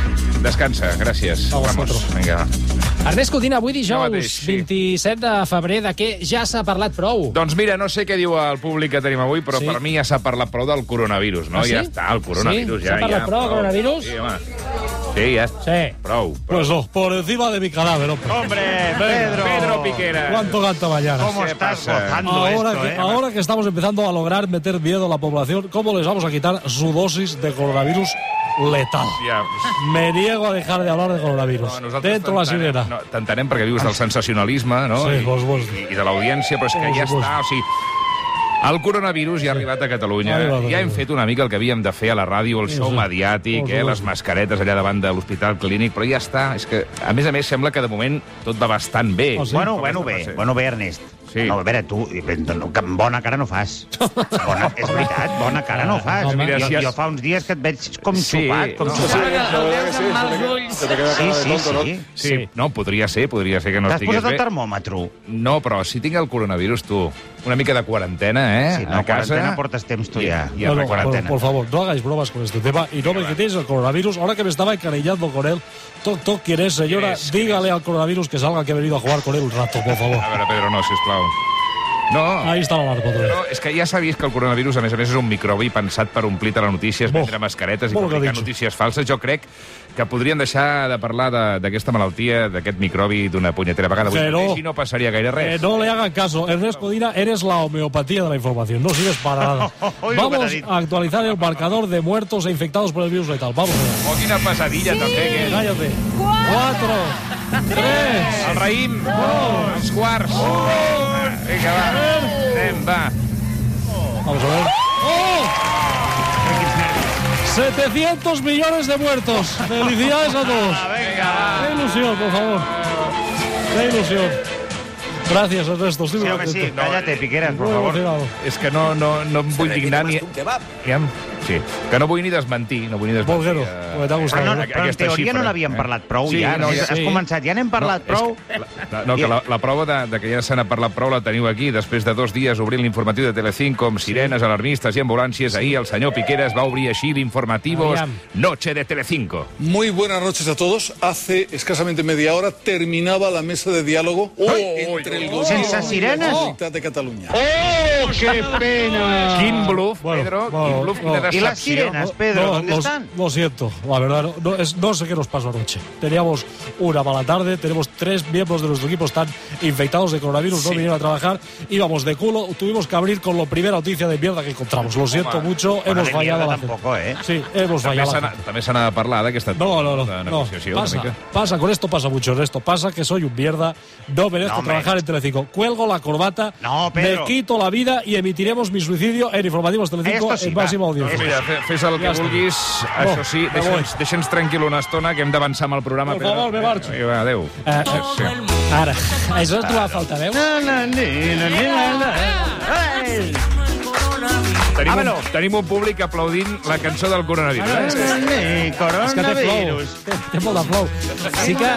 [SPEAKER 3] Uh, descansa, gràcies. Vamos, vinga.
[SPEAKER 10] Ernest Codina, avui dijous,
[SPEAKER 3] mateix,
[SPEAKER 10] 27 de febrer, de què ja s'ha parlat prou?
[SPEAKER 3] Doncs mira, no sé què diu el públic que tenim avui, però sí. per mi ja s'ha parlat prou del coronavirus, no?
[SPEAKER 10] Ah, sí?
[SPEAKER 3] Ja està, el coronavirus.
[SPEAKER 10] Sí?
[SPEAKER 3] Ja,
[SPEAKER 10] S'ha parlat
[SPEAKER 3] ja,
[SPEAKER 10] prou del coronavirus?
[SPEAKER 3] Sí, home. Sí, ja
[SPEAKER 10] Sí.
[SPEAKER 3] Prou.
[SPEAKER 10] Pues dos, por encima de mi cadáver, hombre.
[SPEAKER 3] Pedro. Pedro Piquera.
[SPEAKER 10] ¿Cuánto canta mañana?
[SPEAKER 3] ¿Cómo estás gozando
[SPEAKER 10] ahora
[SPEAKER 3] esto,
[SPEAKER 10] que,
[SPEAKER 3] eh?
[SPEAKER 10] Ahora que estamos empezando a lograr meter miedo a la población, ¿cómo les vamos a quitar su dosis de coronavirus letal?
[SPEAKER 3] Ja,
[SPEAKER 10] Me niego a dejar de hablar de coronavirus. Dentro tota la
[SPEAKER 3] t'entenem,
[SPEAKER 10] sirena.
[SPEAKER 3] No, T'entenem perquè vius del sensacionalisme, no?
[SPEAKER 10] Sí,
[SPEAKER 3] I, i, i de l'audiència, però és que
[SPEAKER 10] Por
[SPEAKER 3] ja
[SPEAKER 10] supuesto.
[SPEAKER 3] està, o sigui... El coronavirus ja ha arribat a Catalunya.
[SPEAKER 10] Ha arribat a
[SPEAKER 3] Ja hem
[SPEAKER 10] Catalunya.
[SPEAKER 3] fet una mica el que havíem de fer a la ràdio, el
[SPEAKER 10] Sí,
[SPEAKER 3] show
[SPEAKER 10] sí.
[SPEAKER 3] mediàtic,
[SPEAKER 10] Por
[SPEAKER 3] eh,
[SPEAKER 10] supuesto.
[SPEAKER 3] les mascaretes allà davant de l'Hospital Clínic, però ja està. És que, a més a més, sembla que de moment tot va bastant bé.
[SPEAKER 6] Oh, sí? Bueno, bueno, bé, bueno, bé, Ernest. Sí. No, a veure, tu, eh, no, que bona cara no fas. Bona, és veritat, bona cara
[SPEAKER 10] Ah,
[SPEAKER 6] no fas.
[SPEAKER 3] Home.
[SPEAKER 6] Mira,
[SPEAKER 3] Mira,
[SPEAKER 6] jo,
[SPEAKER 3] si has-
[SPEAKER 6] jo fa uns dies que et veig com
[SPEAKER 3] Sí,
[SPEAKER 6] xupat, com
[SPEAKER 3] no,
[SPEAKER 6] xupat.
[SPEAKER 3] sí, la veus amb mals
[SPEAKER 13] ulls.
[SPEAKER 14] Doncs
[SPEAKER 6] Sí, sí, sí.
[SPEAKER 3] Sí, sí. No, podria ser, podria ser que no
[SPEAKER 6] T'has
[SPEAKER 3] estigués bé.
[SPEAKER 6] posat el termòmetre?
[SPEAKER 3] No, però si tinc el coronavirus, tu, una mica de quarantena, eh?
[SPEAKER 6] Sí, no, quarantena portes temps tu ja.
[SPEAKER 3] I, i no,
[SPEAKER 10] No,
[SPEAKER 3] no,
[SPEAKER 10] no,
[SPEAKER 3] quarantena.
[SPEAKER 10] por, por favor, no hagáis bromas con este tema y no me quitéis el coronavirus. Ahora que me estaba encanillando con él, toc, toc, ¿quién es, señora?
[SPEAKER 3] ¿Quién es?
[SPEAKER 10] Dígale al coronavirus que salga que he venido a jugar con él un rato, por favor.
[SPEAKER 3] A veure, Pedro, no, sisplau. No.
[SPEAKER 10] Ahí está la alarma otra vez.
[SPEAKER 3] No, és que ja s'ha vist que el coronavirus, a més a més, és un microbi pensat per omplir-te les notícies, vendre mascaretes i
[SPEAKER 10] molt que
[SPEAKER 3] fabricar
[SPEAKER 10] dicho.
[SPEAKER 3] notícies falses. Jo crec que podríem deixar de parlar de- d'aquesta malaltia, d'aquest microbi d'una punyetera vegada. Avui
[SPEAKER 10] Que no.
[SPEAKER 3] mateix i no passaria gaire
[SPEAKER 10] Que
[SPEAKER 3] res.
[SPEAKER 10] Eh, no le hagan caso. Ernest Codina, eres la homeopatía de la información. No sirves para nada.
[SPEAKER 3] Hoy lo que
[SPEAKER 10] Vamos
[SPEAKER 3] te digo.
[SPEAKER 10] a actualizar el marcador de muertos e infectados por el virus letal. Vamos.
[SPEAKER 3] Oh, quina passadilla, també, eh? que...
[SPEAKER 10] Cállate. Cuatro. Tres.
[SPEAKER 3] El raïm. Dos. Els quarts. Vinga, va. Anem, va.
[SPEAKER 10] Vamos a ver. ¡Oh! 700 millones de muertos. Felicidades a todos. Qué ilusión, por favor. Qué ilusión. Gracias, Ernesto. Estoy
[SPEAKER 6] Sí,
[SPEAKER 10] muy
[SPEAKER 6] home, sí,
[SPEAKER 10] contento.
[SPEAKER 6] cállate, Piqueras, por
[SPEAKER 10] Muy
[SPEAKER 6] favor.
[SPEAKER 10] emocionado.
[SPEAKER 3] És que no, no, no em vull dignar ni... Aviam. Sí, que no vull ni desmentir, no vull ni desmentir.
[SPEAKER 10] Bolguero,
[SPEAKER 3] eh,
[SPEAKER 10] t'ha gustat,
[SPEAKER 3] aquesta
[SPEAKER 10] eh?
[SPEAKER 6] Però en teoria no n'havíem parlat prou,
[SPEAKER 3] Sí,
[SPEAKER 6] ja.
[SPEAKER 3] no, ja-
[SPEAKER 6] has, has
[SPEAKER 3] sí.
[SPEAKER 6] començat, ja n'hem parlat
[SPEAKER 3] No, és
[SPEAKER 6] prou.
[SPEAKER 3] La- No, que la, la prova de, de que ja se n'ha parlat prou la teniu aquí. Després de dos dies obrint l'informatiu de Telecinco amb sirenes, alarmistes i ambulàncies, ahir el senyor Piqueras va obrir així l'informativos
[SPEAKER 15] Aviam.
[SPEAKER 3] Noche de Telecinco.
[SPEAKER 15] Muy buenas noches a todos. Hace escasamente media hora terminaba la mesa de diálogo entre el gobierno
[SPEAKER 6] Sense
[SPEAKER 15] y la
[SPEAKER 6] sirenes?
[SPEAKER 15] Generalitat de Cataluña.
[SPEAKER 6] ¡Oh, qué
[SPEAKER 10] Ah,
[SPEAKER 6] pena!
[SPEAKER 3] Quin bluff, Pedro, quin bluff, quina decepció.
[SPEAKER 10] No, lo- Lo siento, la verdad, no, no es- no sé qué nos pasó anoche. Teníamos una mala tarde, tenemos tres miembros de nuestro equipo están infectados de coronavirus, no
[SPEAKER 3] Sí.
[SPEAKER 10] vinieron a trabajar, íbamos de culo, tuvimos que abrir con la primera noticia de mierda que encontramos. Lo siento
[SPEAKER 3] Home,
[SPEAKER 10] mucho,
[SPEAKER 3] bueno,
[SPEAKER 10] hemos
[SPEAKER 3] de
[SPEAKER 10] fallado a
[SPEAKER 3] mierda
[SPEAKER 10] la
[SPEAKER 3] tampoco, eh?
[SPEAKER 10] Sí, hemos
[SPEAKER 3] També
[SPEAKER 10] fallado a
[SPEAKER 3] se
[SPEAKER 10] la
[SPEAKER 3] n'ha-
[SPEAKER 10] gente.
[SPEAKER 3] també se n'ha de parlar d'aquesta
[SPEAKER 10] No, no, no,
[SPEAKER 3] de
[SPEAKER 10] no,
[SPEAKER 3] negociació. una
[SPEAKER 10] pasa,
[SPEAKER 3] mica.
[SPEAKER 10] pasa, con esto pasa mucho, Ernesto, pasa que soy un mierda, no merezco
[SPEAKER 3] No, hombre.
[SPEAKER 10] trabajar en Telecinco, cuelgo la corbata,
[SPEAKER 3] Pedro.
[SPEAKER 10] me quito la vida y emitiremos mi suicidio en Informativos Telecinco en máxima audiencia.
[SPEAKER 3] Doncs mira, fe- fes el que
[SPEAKER 10] Ja està.
[SPEAKER 3] vulguis, això sí,
[SPEAKER 10] me
[SPEAKER 3] deixa'ns deixa'ns tranquil una estona, que hem d'avançar amb el programa.
[SPEAKER 10] Por
[SPEAKER 3] Pedro.
[SPEAKER 10] favor, me marcho.
[SPEAKER 3] Vinga, va, Adéu.
[SPEAKER 10] Eh,
[SPEAKER 3] Sí.
[SPEAKER 10] Ara, això et trobava a falta, veus?
[SPEAKER 3] Tenim un, tenim un públic aplaudint la cançó del coronavirus. Eh?
[SPEAKER 10] És que té flow. Té, té molt de flow. Sí que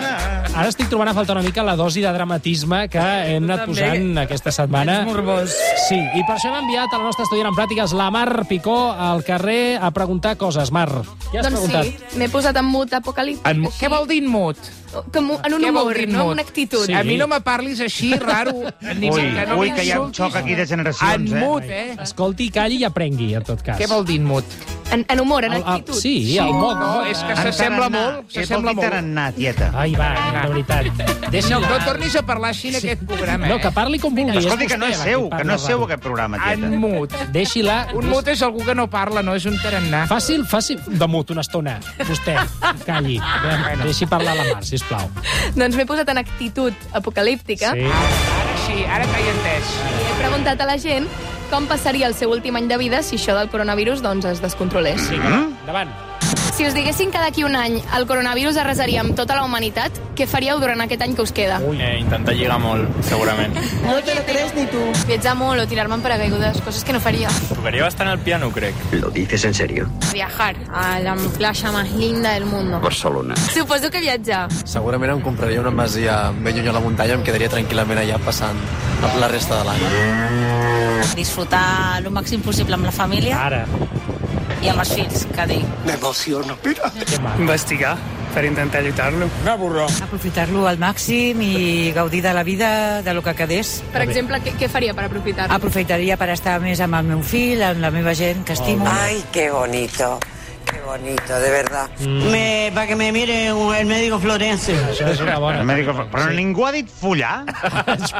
[SPEAKER 4] Ara estic trobant a faltar una mica la dosi de dramatisme que hem anat
[SPEAKER 9] també.
[SPEAKER 4] posant aquesta setmana.
[SPEAKER 9] Ets morbós.
[SPEAKER 4] Sí, i per això hem enviat a la nostra estudiant en pràctiques, la Mar Picó, al carrer a preguntar coses. Mar, què has
[SPEAKER 14] doncs
[SPEAKER 4] preguntat?
[SPEAKER 14] sí, m'he posat en mut apocalíptic.
[SPEAKER 4] En-
[SPEAKER 14] així.
[SPEAKER 11] Què vol dir mut?
[SPEAKER 14] Com, un- en un
[SPEAKER 11] Què vol
[SPEAKER 14] humor,
[SPEAKER 11] dir
[SPEAKER 14] no?
[SPEAKER 11] mut?
[SPEAKER 14] En una actitud.
[SPEAKER 11] Sí. A mi no me parlis així, raro. Ni
[SPEAKER 6] Ui,
[SPEAKER 11] que no
[SPEAKER 6] ui, que hi ha un
[SPEAKER 11] m'insultis.
[SPEAKER 6] xoc aquí de generacions,
[SPEAKER 11] En
[SPEAKER 6] eh?
[SPEAKER 11] mut, eh?
[SPEAKER 4] Escolti, calli i aprengui, en tot cas.
[SPEAKER 11] Què vol dir mut?
[SPEAKER 14] En, en humor, en
[SPEAKER 4] El- el-
[SPEAKER 14] actitud.
[SPEAKER 4] Ah, sí, el mot,
[SPEAKER 11] No,
[SPEAKER 4] mot,
[SPEAKER 11] és que
[SPEAKER 4] eh?
[SPEAKER 11] s'assembla
[SPEAKER 4] Tarannà.
[SPEAKER 11] molt.
[SPEAKER 4] Eh, vol
[SPEAKER 11] S'assembla
[SPEAKER 4] dir
[SPEAKER 11] molt.
[SPEAKER 6] tarannà, tieta.
[SPEAKER 4] Ai, va, de veritat.
[SPEAKER 11] No,
[SPEAKER 4] Deixa'l.
[SPEAKER 11] no tornis a parlar així en aquest programa,
[SPEAKER 4] No,
[SPEAKER 11] eh?
[SPEAKER 4] que parli com vulgui.
[SPEAKER 6] Escolti, que no
[SPEAKER 4] vostè
[SPEAKER 6] és
[SPEAKER 4] la
[SPEAKER 6] seu,
[SPEAKER 4] qui
[SPEAKER 6] que
[SPEAKER 4] parla
[SPEAKER 6] no és
[SPEAKER 4] raro.
[SPEAKER 6] seu aquest programa, tieta.
[SPEAKER 11] En mut.
[SPEAKER 4] Deixi-la...
[SPEAKER 11] Un mut és algú que no parla, no és un tarannà.
[SPEAKER 4] Fàcil, fàcil. De mut, una estona. Vostè, calli. Bé, Deixi parlar la Mar, sisplau.
[SPEAKER 14] Doncs m'he posat en actitud apocalíptica.
[SPEAKER 4] Sí.
[SPEAKER 11] Ara sí, ara que hi he entès.
[SPEAKER 14] He preguntat a la gent com passaria el seu últim any de vida si això del coronavirus doncs, es descontrolés.
[SPEAKER 4] Sí, endavant.
[SPEAKER 14] Si us diguessin que d'aquí un any el coronavirus arrasaria amb tota la humanitat, què faríeu durant aquest any que us queda?
[SPEAKER 16] Eh, intentar lligar molt, segurament.
[SPEAKER 14] No te lo crees ni tu. Viatjar molt o tirar-me en paracaigudes, coses que no faria.
[SPEAKER 16] Tocaria bastant el piano, crec.
[SPEAKER 17] ¿Lo dices en serio?
[SPEAKER 14] Viajar a la playa más linda del mundo.
[SPEAKER 17] Barcelona.
[SPEAKER 14] Suposo que viatjar.
[SPEAKER 18] Segurament em compraria una masia ben lluny a la muntanya i em quedaria tranquil·lament allà passant la resta de l'any.
[SPEAKER 19] Disfrutar el màxim possible amb la família.
[SPEAKER 4] Ara.
[SPEAKER 19] I amb els fills, que dic.
[SPEAKER 20] M'emociono, mira. Investigar per intentar lluitar-lo. M'avorró.
[SPEAKER 21] Aprofitar-lo al màxim i gaudir de la vida, de lo que quedés.
[SPEAKER 14] Per exemple, què, què faria per aprofitar-ho?
[SPEAKER 21] Aprofitaria per estar més amb el meu fill, amb la meva gent que estimo.
[SPEAKER 14] Oh.
[SPEAKER 22] Ay, qué bonito, qué bonito, de verdad.
[SPEAKER 23] Me, para que me mire un- el médico Florencio.
[SPEAKER 4] Això és una bona...
[SPEAKER 6] El mèdic, però ningú ha dit follar?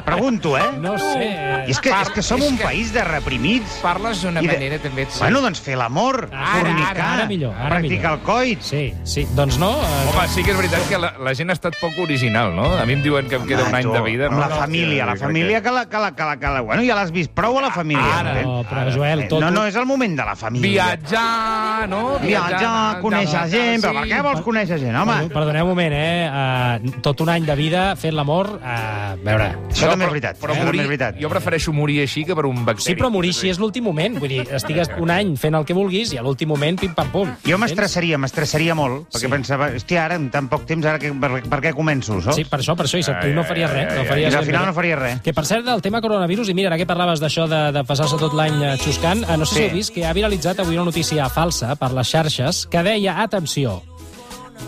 [SPEAKER 6] Pregunto, eh?
[SPEAKER 4] No sé.
[SPEAKER 6] I és que, és que som
[SPEAKER 11] és
[SPEAKER 6] un
[SPEAKER 11] que-
[SPEAKER 6] país de reprimits.
[SPEAKER 11] Parles d'una
[SPEAKER 6] I de-
[SPEAKER 11] manera, també et
[SPEAKER 6] Bueno, doncs fer l'amor,
[SPEAKER 11] Ara,
[SPEAKER 6] fornicar,
[SPEAKER 11] ara,
[SPEAKER 4] Ara millor, ara
[SPEAKER 6] practicar
[SPEAKER 4] millor.
[SPEAKER 6] el coit.
[SPEAKER 4] Sí, sí. Doncs no... eh,
[SPEAKER 3] Home, sí que és veritat que la, la gent ha estat poc original, no? A mi em diuen que em queda un any de vida. No?
[SPEAKER 6] La família, la família que la... Que la, que la, que la bueno, ja l'has vist prou a la família.
[SPEAKER 3] Ara,
[SPEAKER 6] entens?
[SPEAKER 3] no, però, Joel,
[SPEAKER 6] Eh,
[SPEAKER 3] tot-
[SPEAKER 6] No, no, és el moment de la família.
[SPEAKER 11] Viatjar, no?
[SPEAKER 6] Viatjar, conèixer gent, però per què vols conèixer gent, home?
[SPEAKER 4] Perdó- Perdoneu un moment, eh? Uh, tot un any de vida fent l'amor... Uh, a veure...
[SPEAKER 6] Això també és veritat.
[SPEAKER 3] Però
[SPEAKER 6] això també
[SPEAKER 3] morir,
[SPEAKER 6] és veritat.
[SPEAKER 3] jo prefereixo morir així que per un bacteri.
[SPEAKER 4] Sí, però morir així és l'últim moment. Vull dir, estigues un any fent el que vulguis i a l'últim moment, pim-pam-pum.
[SPEAKER 6] Jo m'estressaria, m'estressaria molt, perquè
[SPEAKER 4] Sí.
[SPEAKER 6] pensava, hòstia, ara en tan poc temps, ara que, per, per què començo, saps? Eh,
[SPEAKER 4] Sí, per això, per això, Isaac, tu no faries res. No
[SPEAKER 6] I
[SPEAKER 4] faries
[SPEAKER 6] al
[SPEAKER 4] res.
[SPEAKER 6] final no faria res.
[SPEAKER 4] Que, per cert, del tema coronavirus, i mira, ara que parlaves d'això de, de passar-se tot l'any eh, xuscant, eh, no sé si
[SPEAKER 6] Sí.
[SPEAKER 4] heu vist que ha viralitzat avui una notícia falsa per les xarxes que deia, atenció,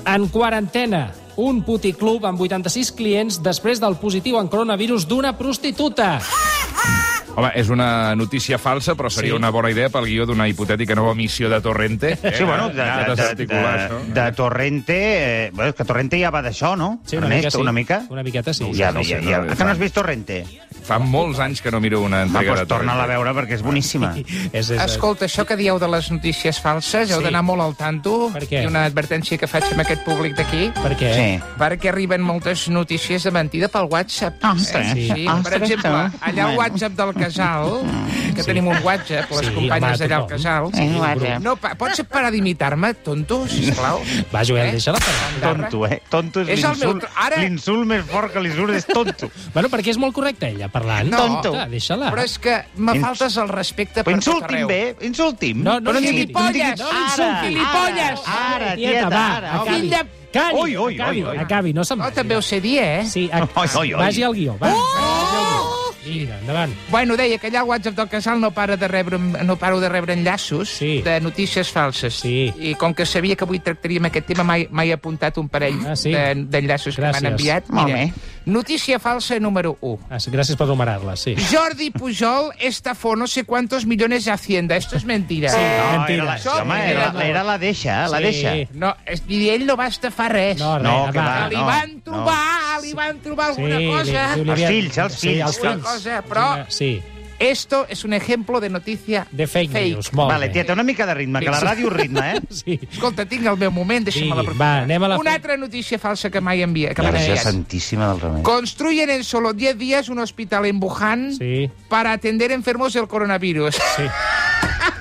[SPEAKER 4] en quarantena, un puticlub amb 86 clients després del positiu en coronavirus d'una prostituta.
[SPEAKER 3] Home, és una notícia falsa, però seria
[SPEAKER 4] Sí.
[SPEAKER 3] una bona idea pel guió d'una hipotètica nova missió de Torrente. Eh,
[SPEAKER 6] Sí, bueno, de,
[SPEAKER 3] Dates
[SPEAKER 6] de, de,
[SPEAKER 3] particulars, no?
[SPEAKER 6] de, de Torrente... Eh, bueno, és que Torrente ja va d'això, no?
[SPEAKER 4] Sí, una
[SPEAKER 6] Ernest,
[SPEAKER 4] mica sí.
[SPEAKER 6] una mica?
[SPEAKER 4] Una miqueta sí.
[SPEAKER 6] Ja, ja, ja. Ah, Que no has vist Torrente?
[SPEAKER 3] Fa molts anys que no miro una
[SPEAKER 6] Va,
[SPEAKER 3] entrega
[SPEAKER 6] doncs
[SPEAKER 3] de
[SPEAKER 6] torna-la a
[SPEAKER 3] Torrente.
[SPEAKER 6] veure perquè és boníssima.
[SPEAKER 4] és,
[SPEAKER 11] Escolta, això que dieu de les notícies falses, heu
[SPEAKER 4] Sí.
[SPEAKER 11] d'anar molt al tanto.
[SPEAKER 4] Per què?
[SPEAKER 11] I una advertència que faig amb aquest públic d'aquí.
[SPEAKER 4] Per què?
[SPEAKER 3] Eh?
[SPEAKER 4] Sí.
[SPEAKER 11] Perquè arriben moltes notícies de mentida pel WhatsApp.
[SPEAKER 4] Ah,
[SPEAKER 11] Eh,
[SPEAKER 4] Ostres.
[SPEAKER 11] Sí.
[SPEAKER 4] Sí.
[SPEAKER 11] Per
[SPEAKER 4] Ostres,
[SPEAKER 11] exemple,
[SPEAKER 4] tu.
[SPEAKER 11] allà al
[SPEAKER 4] Bueno.
[SPEAKER 11] WhatsApp del casal, que tenim un WhatsApp, les
[SPEAKER 4] Sí,
[SPEAKER 11] companyes
[SPEAKER 4] home,
[SPEAKER 11] d'allà al
[SPEAKER 4] tothom.
[SPEAKER 11] casal.
[SPEAKER 4] Sí, un WhatsApp.
[SPEAKER 11] No, pa, pots parar d'imitar-me, tonto, sisplau?
[SPEAKER 4] Va, Joel,
[SPEAKER 11] Eh?
[SPEAKER 4] deixa-la parlar.
[SPEAKER 6] Tonto, eh? Tonto és,
[SPEAKER 11] És el meu
[SPEAKER 6] l'insult.
[SPEAKER 11] tro- ara-
[SPEAKER 6] L'insult més fort que li surt és tonto.
[SPEAKER 4] Bueno, perquè és molt correcta ella parlant. Clar, Deixa-la.
[SPEAKER 11] Però és que me
[SPEAKER 4] eh? Ins-
[SPEAKER 11] faltes el respecte
[SPEAKER 4] Però
[SPEAKER 11] per tot
[SPEAKER 4] insulti'm
[SPEAKER 11] arreu.
[SPEAKER 4] bé,
[SPEAKER 6] insulti'm.
[SPEAKER 4] No, no
[SPEAKER 11] Però
[SPEAKER 4] insulti.
[SPEAKER 11] gilipolles,
[SPEAKER 4] No insulti.
[SPEAKER 11] ara,
[SPEAKER 4] Gilipolles.
[SPEAKER 11] Ara, ara,
[SPEAKER 4] Tieta,
[SPEAKER 11] tieta,
[SPEAKER 4] va,
[SPEAKER 11] ara. home.
[SPEAKER 4] acabi.
[SPEAKER 11] Fill de...
[SPEAKER 4] Calli, oi, oi, acabi, oi, oi. acabi, no se'n
[SPEAKER 11] No, Oh, també ho sé dir, eh?
[SPEAKER 4] Sí, a...
[SPEAKER 6] Oi, oi, oi.
[SPEAKER 4] Vagi al guió, va. Oh! Vinga, endavant.
[SPEAKER 11] Bueno, deia que allà al WhatsApp del casal no, para de rebre, no paro de rebre enllaços sí. de notícies falses. Sí. I com que sabia que avui tractaríem aquest tema, mai, mai he apuntat un parell ah, sí? d'enllaços que m'han
[SPEAKER 4] Gràcies.
[SPEAKER 11] enviat.
[SPEAKER 4] Molt bé.
[SPEAKER 11] notícia falsa número 1.
[SPEAKER 4] Ah, sí, Gràcies per numerar-la, sí.
[SPEAKER 11] Jordi Pujol estafó no sé cuántos millones de Hacienda. Esto es mentira.
[SPEAKER 4] Sí,
[SPEAKER 6] No, mentira. era la- home, era- era la deixa, eh, la deixa.
[SPEAKER 11] No, és, i ell no va estafar res. Ah,
[SPEAKER 4] No, res, No, que va, va,
[SPEAKER 11] Li
[SPEAKER 4] no,
[SPEAKER 11] van trobar, li van trobar alguna cosa.
[SPEAKER 4] li- li havia-
[SPEAKER 6] Els fills, els
[SPEAKER 4] sí,
[SPEAKER 6] fills.
[SPEAKER 4] els
[SPEAKER 11] Alguna
[SPEAKER 4] fills.
[SPEAKER 11] cosa, però
[SPEAKER 4] Sí.
[SPEAKER 11] esto es un ejemplo de noticia
[SPEAKER 4] De fake,
[SPEAKER 11] Fake.
[SPEAKER 4] news, molt
[SPEAKER 6] Vale,
[SPEAKER 4] bé.
[SPEAKER 6] tieta, una mica de ritme, que la ràdio ritme, eh?
[SPEAKER 4] Sí.
[SPEAKER 11] Escolta, tinc el meu moment, deixa'm la
[SPEAKER 4] Digui, va, anem a la...
[SPEAKER 11] Una altra notícia falsa que mai envia. Que
[SPEAKER 6] La
[SPEAKER 11] m'han
[SPEAKER 6] Verge
[SPEAKER 11] enviat.
[SPEAKER 6] Santíssima del Remei.
[SPEAKER 11] Construyen en solo 10 días un hospital en Wuhan para atender enfermos del coronavirus.
[SPEAKER 4] Sí.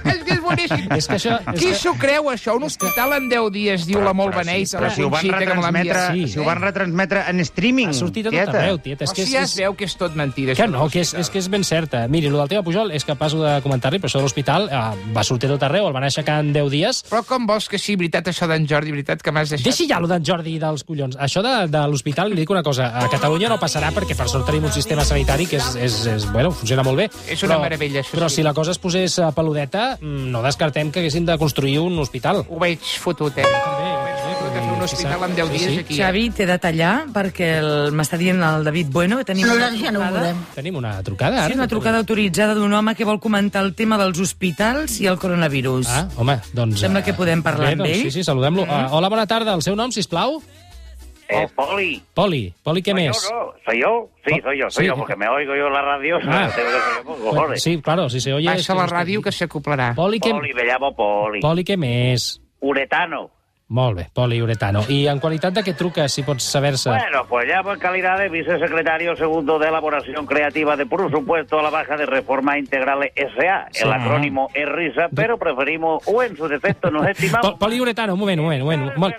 [SPEAKER 11] es que es expressin.
[SPEAKER 4] És que això- és
[SPEAKER 11] Qui
[SPEAKER 4] que-
[SPEAKER 11] s'ho creu, això? Un hospital en 10 dies, diu la molt beneita.
[SPEAKER 6] Però
[SPEAKER 11] la
[SPEAKER 6] si ho van
[SPEAKER 11] Conxita, que me l'ha enviat.
[SPEAKER 6] retransmetre, si ho van retransmetre en streaming,
[SPEAKER 4] Ha sortit a tot
[SPEAKER 6] tieta.
[SPEAKER 4] arreu, tieta. És que
[SPEAKER 11] si
[SPEAKER 4] és,
[SPEAKER 11] ja
[SPEAKER 4] és...
[SPEAKER 11] es veu que és tot mentida.
[SPEAKER 4] Que
[SPEAKER 11] això
[SPEAKER 4] no, que és, és que és ben certa. Miri, el del Teo Pujol és que passo de comentar-li, però això de l'hospital eh, va sortir a tot arreu, el van aixecar en 10 dies.
[SPEAKER 11] Però com vols que sí, veritat, això d'en Jordi, veritat que m'has deixat...
[SPEAKER 4] Deixi ja lo d'en Jordi i dels collons. Això de, de l'hospital, li dic una cosa, a Catalunya no passarà perquè per sort tenim un sistema sanitari que és, és, és bueno, funciona molt bé.
[SPEAKER 11] És una meravella, això
[SPEAKER 4] Però
[SPEAKER 11] sí.
[SPEAKER 4] si la cosa es posés eh, peludeta, mm, no descartem que haguessin de construir un hospital.
[SPEAKER 11] Ho veig fotut, eh? Un hospital en 10 dies aquí. eh?
[SPEAKER 21] Xavi, t'he de tallar perquè el- m'està dient el David Bueno que tenim una trucada.
[SPEAKER 4] Tenim una trucada, ara?
[SPEAKER 21] Sí, una trucada autoritzada d'un home que vol comentar el tema dels hospitals i el coronavirus.
[SPEAKER 4] Ah, home, doncs...
[SPEAKER 21] Sembla
[SPEAKER 4] eh,
[SPEAKER 21] que podem parlar
[SPEAKER 4] bé,
[SPEAKER 21] amb
[SPEAKER 4] doncs,
[SPEAKER 21] ell.
[SPEAKER 4] Sí, sí, saludem-lo. Mm. Uh, hola, bona tarda. El seu nom, si plau?
[SPEAKER 1] Eh, Poli.
[SPEAKER 4] Poli. Poli, què més?
[SPEAKER 1] No, Oh, ¿Soy yo? Sí, soy yo, soy
[SPEAKER 4] Sí.
[SPEAKER 1] yo, porque me oigo yo en la radio.
[SPEAKER 4] Ah.
[SPEAKER 1] Tengo que ser yo, pues, cojones.
[SPEAKER 4] Sí, claro, si se oye...
[SPEAKER 11] Baixa la ràdio que s'acoplarà.
[SPEAKER 4] Poli, què...
[SPEAKER 1] Poli, me llamo Poli.
[SPEAKER 4] Poli, què més?
[SPEAKER 1] Uretano.
[SPEAKER 4] Molt bé, poliuretano. I en qualitat de què truques, si pots saber-se?
[SPEAKER 1] Bueno, pues llamo en calidad de vicesecretario segundo de Elaboración Creativa de, por supuesto, la Baja de Reforma Integrales S.A.
[SPEAKER 4] Sí.
[SPEAKER 1] El acrónimo es risa, pero preferimos, o en su defecto nos estimamos,
[SPEAKER 4] Po- Poliuretano, un moment, un moment. Un moment. Mol-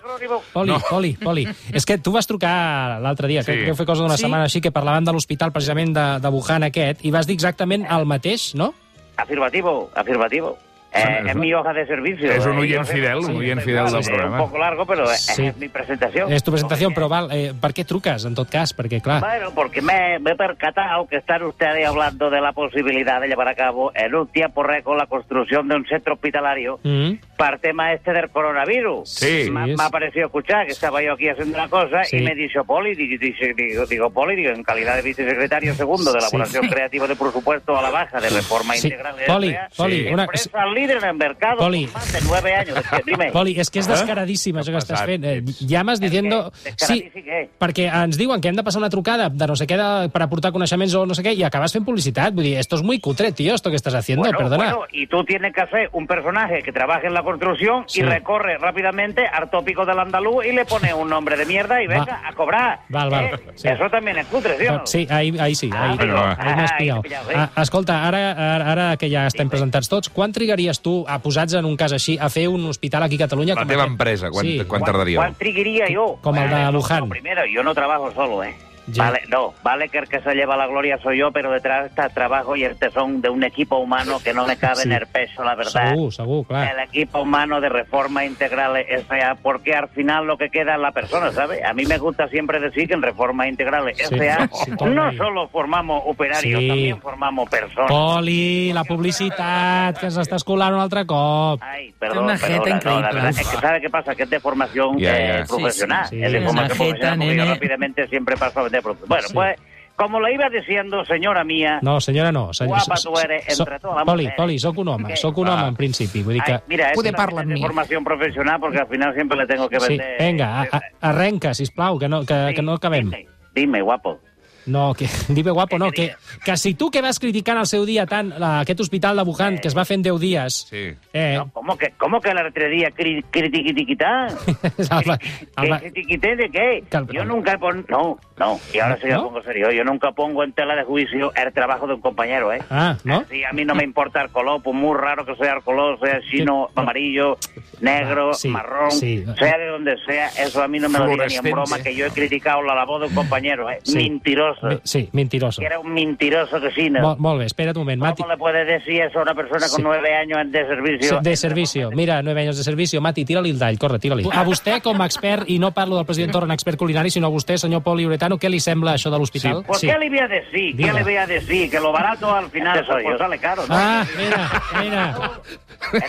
[SPEAKER 4] Poli, no. Poli, Poli. És que tu vas trucar l'altre dia, sí. crec que fer cosa d'una
[SPEAKER 1] Sí.
[SPEAKER 4] sí. setmana així, que parlàvem de l'hospital precisament de, de Wuhan aquest, i vas dir exactament el mateix, no?
[SPEAKER 1] Afirmativo, afirmativo. Eh, es mi hoja de servicio.
[SPEAKER 3] Es un
[SPEAKER 1] Eh,
[SPEAKER 3] oyen
[SPEAKER 1] yo sé-
[SPEAKER 3] fidel, un oyen fidel del
[SPEAKER 1] es
[SPEAKER 3] programa.
[SPEAKER 1] un poco largo, pero es-
[SPEAKER 4] Sí.
[SPEAKER 1] es mi presentación.
[SPEAKER 4] És tu presentació, però val, eh, per què truques, en tot cas? Perquè, clar...
[SPEAKER 1] Bueno, porque me, me he percatado que están ustedes hablando de la posibilidad de llevar a cabo en un tiempo récord la construcción de un centro hospitalario
[SPEAKER 4] Mm.
[SPEAKER 1] para el tema este del coronavirus.
[SPEAKER 2] Sí.
[SPEAKER 1] Me,
[SPEAKER 2] Sí, es-
[SPEAKER 1] me ha parecido escuchar que estaba yo aquí haciendo una cosa
[SPEAKER 2] Sí.
[SPEAKER 1] y me dice Poli, di- dice- digo, digo, Poli, digo, en calidad de vicesecretario segundo de
[SPEAKER 2] Sí.
[SPEAKER 1] elaboración creativa de presupuesto a la baja de reforma
[SPEAKER 4] Sí.
[SPEAKER 1] integral eh, de
[SPEAKER 4] Poli,
[SPEAKER 1] RPA,
[SPEAKER 4] Poli, una-
[SPEAKER 1] empresa líder en el mercado
[SPEAKER 4] Poli.
[SPEAKER 1] con más de nueve años. Es que dime.
[SPEAKER 4] Poli, és que és
[SPEAKER 1] ¿Eh?
[SPEAKER 4] descaradíssim això que estàs fent. Eh, llames diciendo... Sí,
[SPEAKER 1] Descaradíssim, eh?
[SPEAKER 4] perquè ens diuen que hem de passar una trucada de no sé què de, per aportar coneixements o no sé què i acabes fent publicitat. Vull dir, esto es muy cutre, tío, esto que estás haciendo,
[SPEAKER 1] Bueno,
[SPEAKER 4] perdona.
[SPEAKER 1] bueno, y tú tienes que hacer un personaje que trabaje en la construcción
[SPEAKER 4] Sí.
[SPEAKER 1] y recorre rápidamente al tópico del andaluz y le pone un nombre de mierda y
[SPEAKER 4] Va.
[SPEAKER 1] venga a cobrar.
[SPEAKER 4] Val, val,
[SPEAKER 1] Eh,
[SPEAKER 4] sí.
[SPEAKER 1] Eso también es cutre, ¿sí o no?
[SPEAKER 4] Sí, ahí, ahí sí, ahí,
[SPEAKER 1] Ah, amigo.
[SPEAKER 4] ahí m'has
[SPEAKER 1] Ah,
[SPEAKER 4] pillat.
[SPEAKER 1] ahí t'he pillat, eh?
[SPEAKER 4] Ah, escolta, ara, ara, ara que ja estem presentats tots, quan trigaries tu, a posats en un cas així, a fer un hospital aquí a Catalunya?
[SPEAKER 3] La
[SPEAKER 4] com
[SPEAKER 3] teva
[SPEAKER 4] aquest?
[SPEAKER 3] empresa, quan- quan
[SPEAKER 1] ¿Cuál-
[SPEAKER 3] tardaríeu?
[SPEAKER 1] ¿Cuál triguería yo?
[SPEAKER 4] Com el de
[SPEAKER 1] Vale, no,
[SPEAKER 4] Wuhan.
[SPEAKER 1] no, primero, yo no trabajo solo, ¿eh?
[SPEAKER 4] Ya.
[SPEAKER 1] Vale, no, vale que el que se lleva la gloria soy yo, pero detrás está el trabajo y el tesón de un equipo humano que no me cabe
[SPEAKER 4] Sí.
[SPEAKER 1] en el peso, la verdad.
[SPEAKER 4] Segur, segur, clar.
[SPEAKER 1] el equipo humano de reforma integral S.A., porque al final lo que queda es la persona, ¿sabes? A mí me gusta siempre decir que en reforma integral S.A.
[SPEAKER 4] sí,
[SPEAKER 1] no solo formamos operarios,
[SPEAKER 4] Sí.
[SPEAKER 1] también formamos personas.
[SPEAKER 4] Poli, la publicitat, que ens estàs colant un altre cop.
[SPEAKER 1] Ai, Perdón, perdona, no, la verdad es que ¿sabe qué pasa? Que es de formación
[SPEAKER 4] Ya,
[SPEAKER 1] eh,
[SPEAKER 4] ya. Sí,
[SPEAKER 1] profesional.
[SPEAKER 4] sí, sí.
[SPEAKER 1] es de
[SPEAKER 4] Es
[SPEAKER 1] formación
[SPEAKER 4] una jeta,
[SPEAKER 1] profesional porque yo
[SPEAKER 4] nene.
[SPEAKER 1] rápidamente siempre paso a vender productos. Bueno, pues, como le iba diciendo, señora mía,
[SPEAKER 4] No, senyora, no. Seny...
[SPEAKER 1] Guapa tu eres, entre totes les
[SPEAKER 4] Poli,
[SPEAKER 1] mujeres.
[SPEAKER 4] Poli, sóc un home, sóc un home
[SPEAKER 3] Ah.
[SPEAKER 4] en principi. Vull dir
[SPEAKER 1] ay,
[SPEAKER 4] que...
[SPEAKER 1] mira, es una jeta de formación profesional porque al final siempre le tengo que
[SPEAKER 4] Sí,
[SPEAKER 1] vender. eh,
[SPEAKER 4] vinga, a- a- arrenca, sisplau, que no, que, que no acabem.
[SPEAKER 1] Dime, guapo.
[SPEAKER 4] No, que, dime guapo, no, que, que si tu que vas criticant al seu dia tant la, aquest hospital de Wuhan, que es va fer en 10 dies... Sí. Eh,
[SPEAKER 1] ¿Cómo que, cómo que la artería cri- critiquitiquitá?
[SPEAKER 4] el,
[SPEAKER 1] ¿Qué
[SPEAKER 4] el,
[SPEAKER 1] critiquité de qué? Yo nunca pon... No, no. Y ahora sí que
[SPEAKER 4] ¿No?
[SPEAKER 1] pongo serio. Yo nunca pongo en tela de juicio el trabajo de un compañero, ¿eh?
[SPEAKER 4] ah, no?
[SPEAKER 1] Sí, a mí no me importa el color, pues muy raro que sea el color, sea chino, amarillo, negro,
[SPEAKER 4] Sí,
[SPEAKER 1] marrón,
[SPEAKER 4] sí.
[SPEAKER 1] sea de donde sea, eso a mí no me lo diga ni en broma,
[SPEAKER 4] Fluorescente.
[SPEAKER 1] que yo he criticado la labor de un compañero, ¿eh?
[SPEAKER 4] Sí.
[SPEAKER 1] Mentiroso.
[SPEAKER 4] Mi- Sí, mentiroso.
[SPEAKER 1] Que era un mentiroso que sí,
[SPEAKER 4] Mol,
[SPEAKER 1] ¿no?
[SPEAKER 4] molt bé, espera't un moment, Mati.
[SPEAKER 1] ¿Cómo le puedes decir eso a una persona
[SPEAKER 4] Sí.
[SPEAKER 1] con nueve años de servicio?
[SPEAKER 4] De servicio. Mira, 9 anys de servicio. Mati, tira-li el dall, corre, tira-li. A vostè, com a expert, i no parlo del president Torra en expert culinari, sinó a vostè, senyor Poli Uretano, què li sembla això de l'hospital?
[SPEAKER 1] ¿Por qué le voy a decir? ¿Qué
[SPEAKER 4] Diga.
[SPEAKER 1] le voy a decir? Que lo barato al final pues, sale caro, ¿no?
[SPEAKER 4] Ah, mira, mira.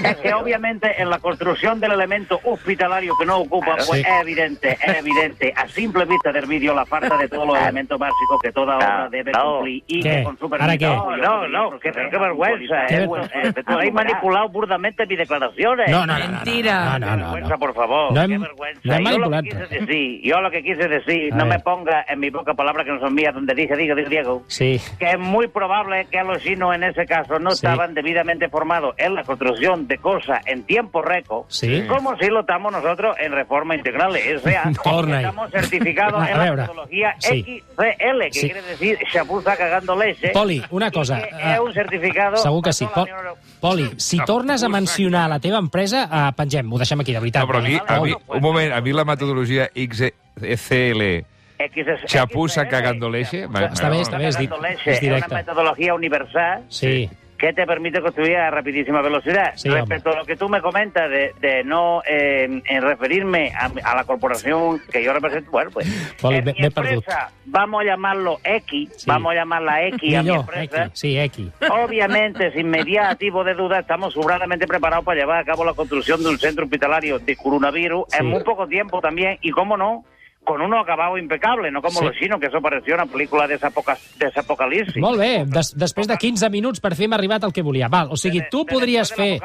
[SPEAKER 1] Es que obviamente en la construcción del elemento hospitalario que no ocupa,
[SPEAKER 4] Claro.
[SPEAKER 1] pues
[SPEAKER 4] Sí.
[SPEAKER 1] es evidente, es evidente, a simple vista del vídeo, la falta de todos los elementos básicos que toda obra debe
[SPEAKER 2] no.
[SPEAKER 1] cumplir y
[SPEAKER 2] ¿Qué?
[SPEAKER 1] que con su
[SPEAKER 2] ¿Ahora qué?
[SPEAKER 1] Ah, No, no, no, que, qué vergüenza.
[SPEAKER 2] ¿Qué
[SPEAKER 1] eh,
[SPEAKER 2] ver-
[SPEAKER 1] eh, tú has manipulado burdamente mis declaraciones.
[SPEAKER 4] No, no, no, no, Mentira. no, no, no, no.
[SPEAKER 1] Qué vergüenza, por favor.
[SPEAKER 4] No hem-
[SPEAKER 1] qué vergüenza.
[SPEAKER 4] no hem
[SPEAKER 1] yo lo
[SPEAKER 4] manipulat
[SPEAKER 1] que quise decir, yo lo que quise decir,
[SPEAKER 4] A
[SPEAKER 1] no
[SPEAKER 4] ver.
[SPEAKER 1] me ponga en mi poca palabra que no son mías, donde dije, digo, digo, Diego
[SPEAKER 4] Sí.
[SPEAKER 1] que es muy probable que los chinos en ese caso no
[SPEAKER 4] Sí.
[SPEAKER 1] estaban debidamente formados en la construcción información de cosa en tiempo récord,
[SPEAKER 4] Sí.
[SPEAKER 1] como si lo estamos nosotros en reforma integral. O sea,
[SPEAKER 4] Torna ahí.
[SPEAKER 1] estamos certificados
[SPEAKER 4] Va, a
[SPEAKER 1] en la
[SPEAKER 4] veure.
[SPEAKER 1] metodología
[SPEAKER 4] Sí.
[SPEAKER 1] XCL, que
[SPEAKER 4] Sí.
[SPEAKER 1] quiere decir chapuza cagando leche.
[SPEAKER 4] Poli, una
[SPEAKER 1] y
[SPEAKER 4] cosa,
[SPEAKER 1] que
[SPEAKER 4] eh,
[SPEAKER 1] Es un certificado...
[SPEAKER 4] Segur que
[SPEAKER 1] a
[SPEAKER 4] sí.
[SPEAKER 1] toda
[SPEAKER 4] Pol,
[SPEAKER 1] la Unión Europea.
[SPEAKER 4] Poli, si tornes a mencionar la teva empresa, eh, pengem, ho deixem aquí, de veritat.
[SPEAKER 3] No, però aquí, a
[SPEAKER 4] Prou.
[SPEAKER 3] mi, un moment, a mi la metodologia XCL,
[SPEAKER 1] XS,
[SPEAKER 3] xapussa cagando leche... m'agrada.
[SPEAKER 4] Està bé, està bé, és dit.
[SPEAKER 1] Leche
[SPEAKER 4] És
[SPEAKER 1] es una
[SPEAKER 4] directe.
[SPEAKER 1] metodología universal
[SPEAKER 4] Sí.
[SPEAKER 1] que te permite construir a rapidísima velocidad.
[SPEAKER 4] Sí,
[SPEAKER 1] Respecto a lo que tú me comentas de, de no eh, en referirme a, a la corporación que yo represento, bueno, pues
[SPEAKER 4] Poli, m'he m'he perdut.
[SPEAKER 1] empresa, vamos a llamarlo X,
[SPEAKER 4] Sí.
[SPEAKER 1] vamos a llamarla X a mi
[SPEAKER 4] Millor,
[SPEAKER 1] empresa.
[SPEAKER 4] equi, sí, equi.
[SPEAKER 1] Obviamente, sin mediativo de duda, estamos sobradamente preparados para llevar a cabo la construcción de un centro hospitalario de coronavirus
[SPEAKER 4] Sí.
[SPEAKER 1] en muy poco tiempo también, y cómo no, con unos acabados impecables, no como
[SPEAKER 4] Sí.
[SPEAKER 1] los chinos, que eso pareció una película de esa poca- de esa apocalipsis.
[SPEAKER 4] Molt bé, des, després de 15 minuts per fi hem arribat al que volia. Val, o sigui, tu podries fer...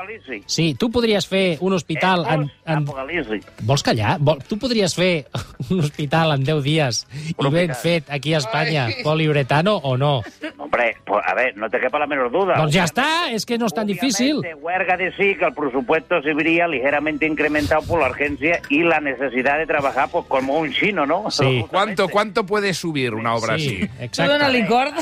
[SPEAKER 4] Sí, tu podries fer un hospital...
[SPEAKER 1] Eh,
[SPEAKER 4] En, en... Vols callar? Vol... Tu podries fer un hospital en 10 dies i ben fet aquí a Espanya,
[SPEAKER 1] Ai.
[SPEAKER 4] poliuretano o no?
[SPEAKER 1] Hombre, pues, a ver, no te quepa la menor duda.
[SPEAKER 4] Doncs ja està, és que Pues no és tan difícil.
[SPEAKER 1] Se huelga decir que el presupuesto se vería ligeramente incrementado por la urgencia y la necesidad de trabajar pues, como un chino, ¿no?
[SPEAKER 3] Sí. ¿Cuánto, ¿Cuánto puede subir una obra
[SPEAKER 1] Sí,
[SPEAKER 3] así?
[SPEAKER 1] A ver, a ver,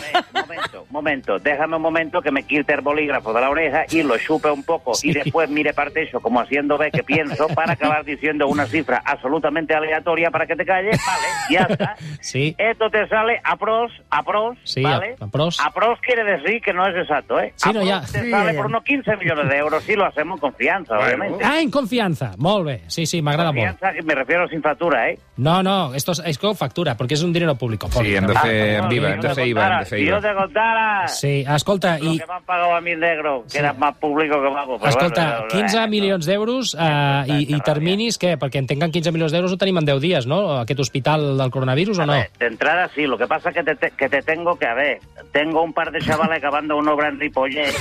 [SPEAKER 1] momento, momento, déjame un momento que me quite el bolígrafo de la oreja y lo chupe un poco y después mire para el techo como haciendo ver que pienso para acabar diciendo una cifra absolutamente aleatoria para que te calles, vale, ya está.
[SPEAKER 4] Sí,
[SPEAKER 1] Esto te sale a pros, a pros,
[SPEAKER 4] Sí,
[SPEAKER 1] ¿vale?
[SPEAKER 4] a- a pros.
[SPEAKER 1] quiere decir que no es exacto, ¿eh?
[SPEAKER 4] Sí,
[SPEAKER 1] a
[SPEAKER 4] no,
[SPEAKER 1] pros
[SPEAKER 4] ya.
[SPEAKER 1] te
[SPEAKER 4] Sí,
[SPEAKER 1] sale
[SPEAKER 4] ya, ya.
[SPEAKER 1] por unos 15 millones de euros si lo hacemos con fianza, obviamente.
[SPEAKER 4] Ah, en confianza. Molt bé. Sí, sí, m'agrada molt.
[SPEAKER 1] Fianza, me refiero sin factura, ¿eh?
[SPEAKER 4] No, no, esto es, es con factura, porque es un dinero público.
[SPEAKER 3] Sí, hem de fer amb IVA, hem de fer IVA, hem de fer
[SPEAKER 1] Si
[SPEAKER 3] IVA.
[SPEAKER 1] yo Ah, te contara
[SPEAKER 4] Sí, escolta,
[SPEAKER 1] lo
[SPEAKER 4] i,
[SPEAKER 1] que me han pagado a mí de negro, que era más público que vago. pero
[SPEAKER 4] escolta,
[SPEAKER 1] bueno, eh,
[SPEAKER 4] 15 milions d'euros eh, i, i terminis, què? Perquè en tenguen 15 milions d'euros ho tenim en 10 dies, no? Aquest hospital del coronavirus o no?
[SPEAKER 1] De entrada sí, lo que pasa es que te, te- que te tengo que a ver. Tengo un par de chavales acabando una obra en Ripollet,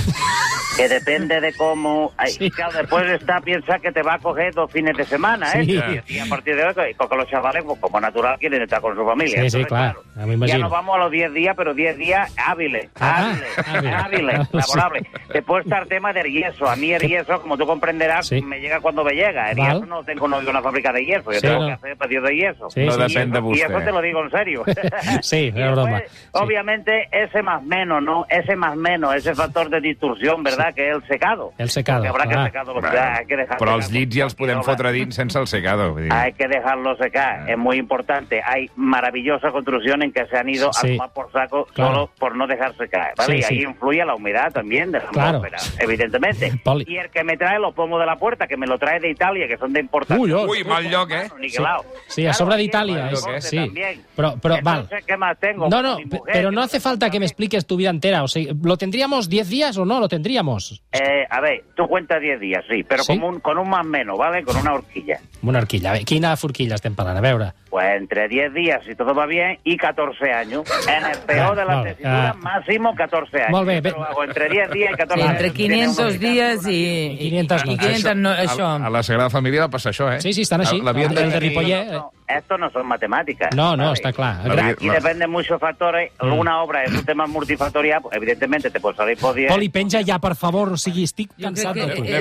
[SPEAKER 1] que depende de cómo... ay, claro, después está piensa que te va a coger dos fines de semana, ¿eh?
[SPEAKER 4] Sí.
[SPEAKER 1] Y a partir de hoy, porque los chavales, pues, como natural, quieren estar con su familia.
[SPEAKER 4] Sí, sí,
[SPEAKER 1] Entonces,
[SPEAKER 4] clar, ja m'ho
[SPEAKER 1] Ya nos
[SPEAKER 4] imagino.
[SPEAKER 1] vamos a los 10 días, pero 10 días hábiles,
[SPEAKER 4] Ah,
[SPEAKER 1] hábiles,
[SPEAKER 4] hábiles.
[SPEAKER 1] hábiles, laborables. Después está el tema del yeso. A mí el yeso, como tú comprenderás,
[SPEAKER 3] Sí.
[SPEAKER 1] me llega cuando me llega. El
[SPEAKER 3] Val.
[SPEAKER 1] yeso no tengo no vivo en una fábrica de yeso, yo
[SPEAKER 3] Sí,
[SPEAKER 1] tengo
[SPEAKER 3] no.
[SPEAKER 1] que hacer pedido de yeso.
[SPEAKER 3] Sí, No sí, depèn
[SPEAKER 1] Y
[SPEAKER 3] de
[SPEAKER 1] eso-
[SPEAKER 3] vostè.
[SPEAKER 1] Y eso te lo digo en serio.
[SPEAKER 4] Sí, no és broma.
[SPEAKER 1] Obviamente ese más menos, ¿no? Ese más menos, ese factor de distorsión, ¿verdad? Que es el secado.
[SPEAKER 4] El secado,
[SPEAKER 1] Porque habrá que
[SPEAKER 4] clar.
[SPEAKER 1] secado los
[SPEAKER 3] Clar.
[SPEAKER 1] hay que dejar
[SPEAKER 3] Però
[SPEAKER 1] secar.
[SPEAKER 3] els llits ja els podem fotre dins sense el secado. Vull dir.
[SPEAKER 1] Hay que dejarlo secar, es muy importante. Hay maravillosa construcción en que se han ido
[SPEAKER 3] Sí.
[SPEAKER 1] a tomar por saco
[SPEAKER 3] Claro.
[SPEAKER 1] solo por no dejar secar. ¿vale?
[SPEAKER 3] Sí,
[SPEAKER 1] y
[SPEAKER 3] sí.
[SPEAKER 1] ahí influye la humedad también de la
[SPEAKER 4] Claro.
[SPEAKER 1] atmósfera, evidentemente.
[SPEAKER 4] Poli.
[SPEAKER 1] Y el que me trae los pomos de la puerta, que me lo trae de Italia, que son de importación.
[SPEAKER 4] Uy, oh.
[SPEAKER 3] Uy, mal lloc, eh?
[SPEAKER 4] Sí, sí a sobre d'Itàlia. és- eh, Sí. Però, però, val.
[SPEAKER 1] ¿Qué más tengo?
[SPEAKER 4] No, no,
[SPEAKER 1] Mi
[SPEAKER 4] pe-
[SPEAKER 1] mujer,
[SPEAKER 4] pero no hace falta que me expliques tu vida entera. O sea, ¿lo tendríamos 10 días o no lo tendríamos?
[SPEAKER 1] eh, a ver, tú cuentas 10 días, sí, pero
[SPEAKER 4] Sí.
[SPEAKER 1] Con, un, con un más menos, ¿vale? Con una horquilla.
[SPEAKER 4] Una horquilla. A veure, quina forquilla estem parlant? A veure.
[SPEAKER 3] Eh?
[SPEAKER 1] Pues entre 10 días, si todo va bien, y 14 años. En el peor de las
[SPEAKER 4] Molt bé.
[SPEAKER 1] tesituras, máximo 14 años.
[SPEAKER 4] Molt bé,
[SPEAKER 1] Yo
[SPEAKER 4] bé.
[SPEAKER 1] lo hago entre 10 días y
[SPEAKER 21] Sí,
[SPEAKER 1] 14 años.
[SPEAKER 21] entre 500 dies i... I
[SPEAKER 4] Ah,
[SPEAKER 21] 500
[SPEAKER 3] no.
[SPEAKER 21] I 500 no, això.
[SPEAKER 3] A la Sagrada Família va passar això, eh?
[SPEAKER 4] Sí, sí, estan així. Ah,
[SPEAKER 3] La- l'havien
[SPEAKER 4] El de
[SPEAKER 3] tenir-
[SPEAKER 4] Ripollet.
[SPEAKER 1] No, no, esto no son matemáticas.
[SPEAKER 4] eh. No, no,
[SPEAKER 1] ¿vale?
[SPEAKER 4] està clar.
[SPEAKER 1] Aquí dependen muchos factores.
[SPEAKER 4] Mm.
[SPEAKER 1] Una obra es un tema multifactorial, pues, evidentemente te puede salir por 10.
[SPEAKER 4] Poli, penja ja, per favor. O sigui, estic cansat de tu.
[SPEAKER 1] Tú quieres que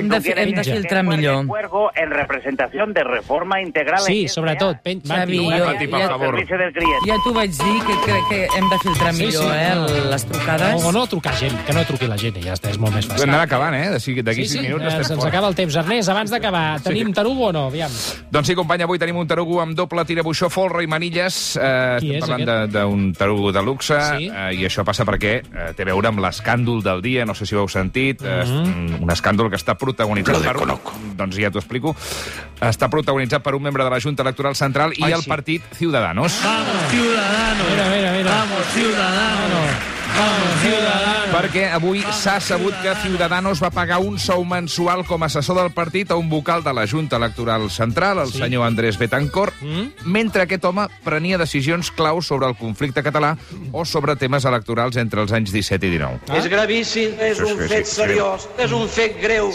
[SPEAKER 1] cuelgue el cuervo en representación de reforma integral.
[SPEAKER 4] Sí,
[SPEAKER 1] en
[SPEAKER 4] sobretot. Pen...
[SPEAKER 21] Xavi, jo,
[SPEAKER 1] Servicio del cliente.
[SPEAKER 21] ja t'ho vaig dir, que crec que hem de filtrar
[SPEAKER 4] Sí,
[SPEAKER 21] millor,
[SPEAKER 4] sí.
[SPEAKER 21] eh, les trucades.
[SPEAKER 4] O, o no trucar gent, que no truqui la gent i ja està, és molt més
[SPEAKER 3] Hem
[SPEAKER 4] fàcil.
[SPEAKER 3] d'anar acabant, eh? D'ací- D'aquí
[SPEAKER 4] Sí,
[SPEAKER 3] 5
[SPEAKER 4] sí,
[SPEAKER 3] minuts
[SPEAKER 4] eh,
[SPEAKER 3] estem
[SPEAKER 4] se'ns
[SPEAKER 3] fora.
[SPEAKER 4] acaba el temps. Ernest, abans d'acabar, tenim tarugo o no? Aviam.
[SPEAKER 3] Doncs sí, company, avui tenim un tarugo amb doble tirabuixó, folre i manilles. Eh,
[SPEAKER 4] Qui
[SPEAKER 3] estem
[SPEAKER 4] és
[SPEAKER 3] parlant
[SPEAKER 4] aquest?
[SPEAKER 3] de- d'un tarugo de luxe, sí? eh, i això passa perquè eh, té a veure amb l'escàndol del dia, no sé si ho heu sentit, mm
[SPEAKER 4] Mhm.
[SPEAKER 3] -hmm. un escàndol que està protagonitzat per... Un, doncs ja t'ho explico. Està protagonitzat per un membre de la Junta Electoral Central i
[SPEAKER 8] Ai,
[SPEAKER 3] el
[SPEAKER 8] sí.
[SPEAKER 3] partit Ciudadanos.
[SPEAKER 4] Ah,
[SPEAKER 8] Vamos, ciudadanos. Mira, mira, mira. Vamos, ciudadanos. Vamos, ciudadanos.
[SPEAKER 3] Perquè avui s'ha sabut que Ciudadanos va pagar un sou mensual com a assessor del partit a un vocal de la Junta Electoral Central, el sí. senyor Andrés Betancourt, mm? mentre aquest home prenia decisions clau sobre el conflicte català o sobre temes electorals entre els anys 17 i 19.
[SPEAKER 17] Ah? És gravíssim, és
[SPEAKER 3] Sí, sí,
[SPEAKER 17] un
[SPEAKER 3] sí,
[SPEAKER 17] fet
[SPEAKER 3] sí.
[SPEAKER 17] seriós, és un fet greu.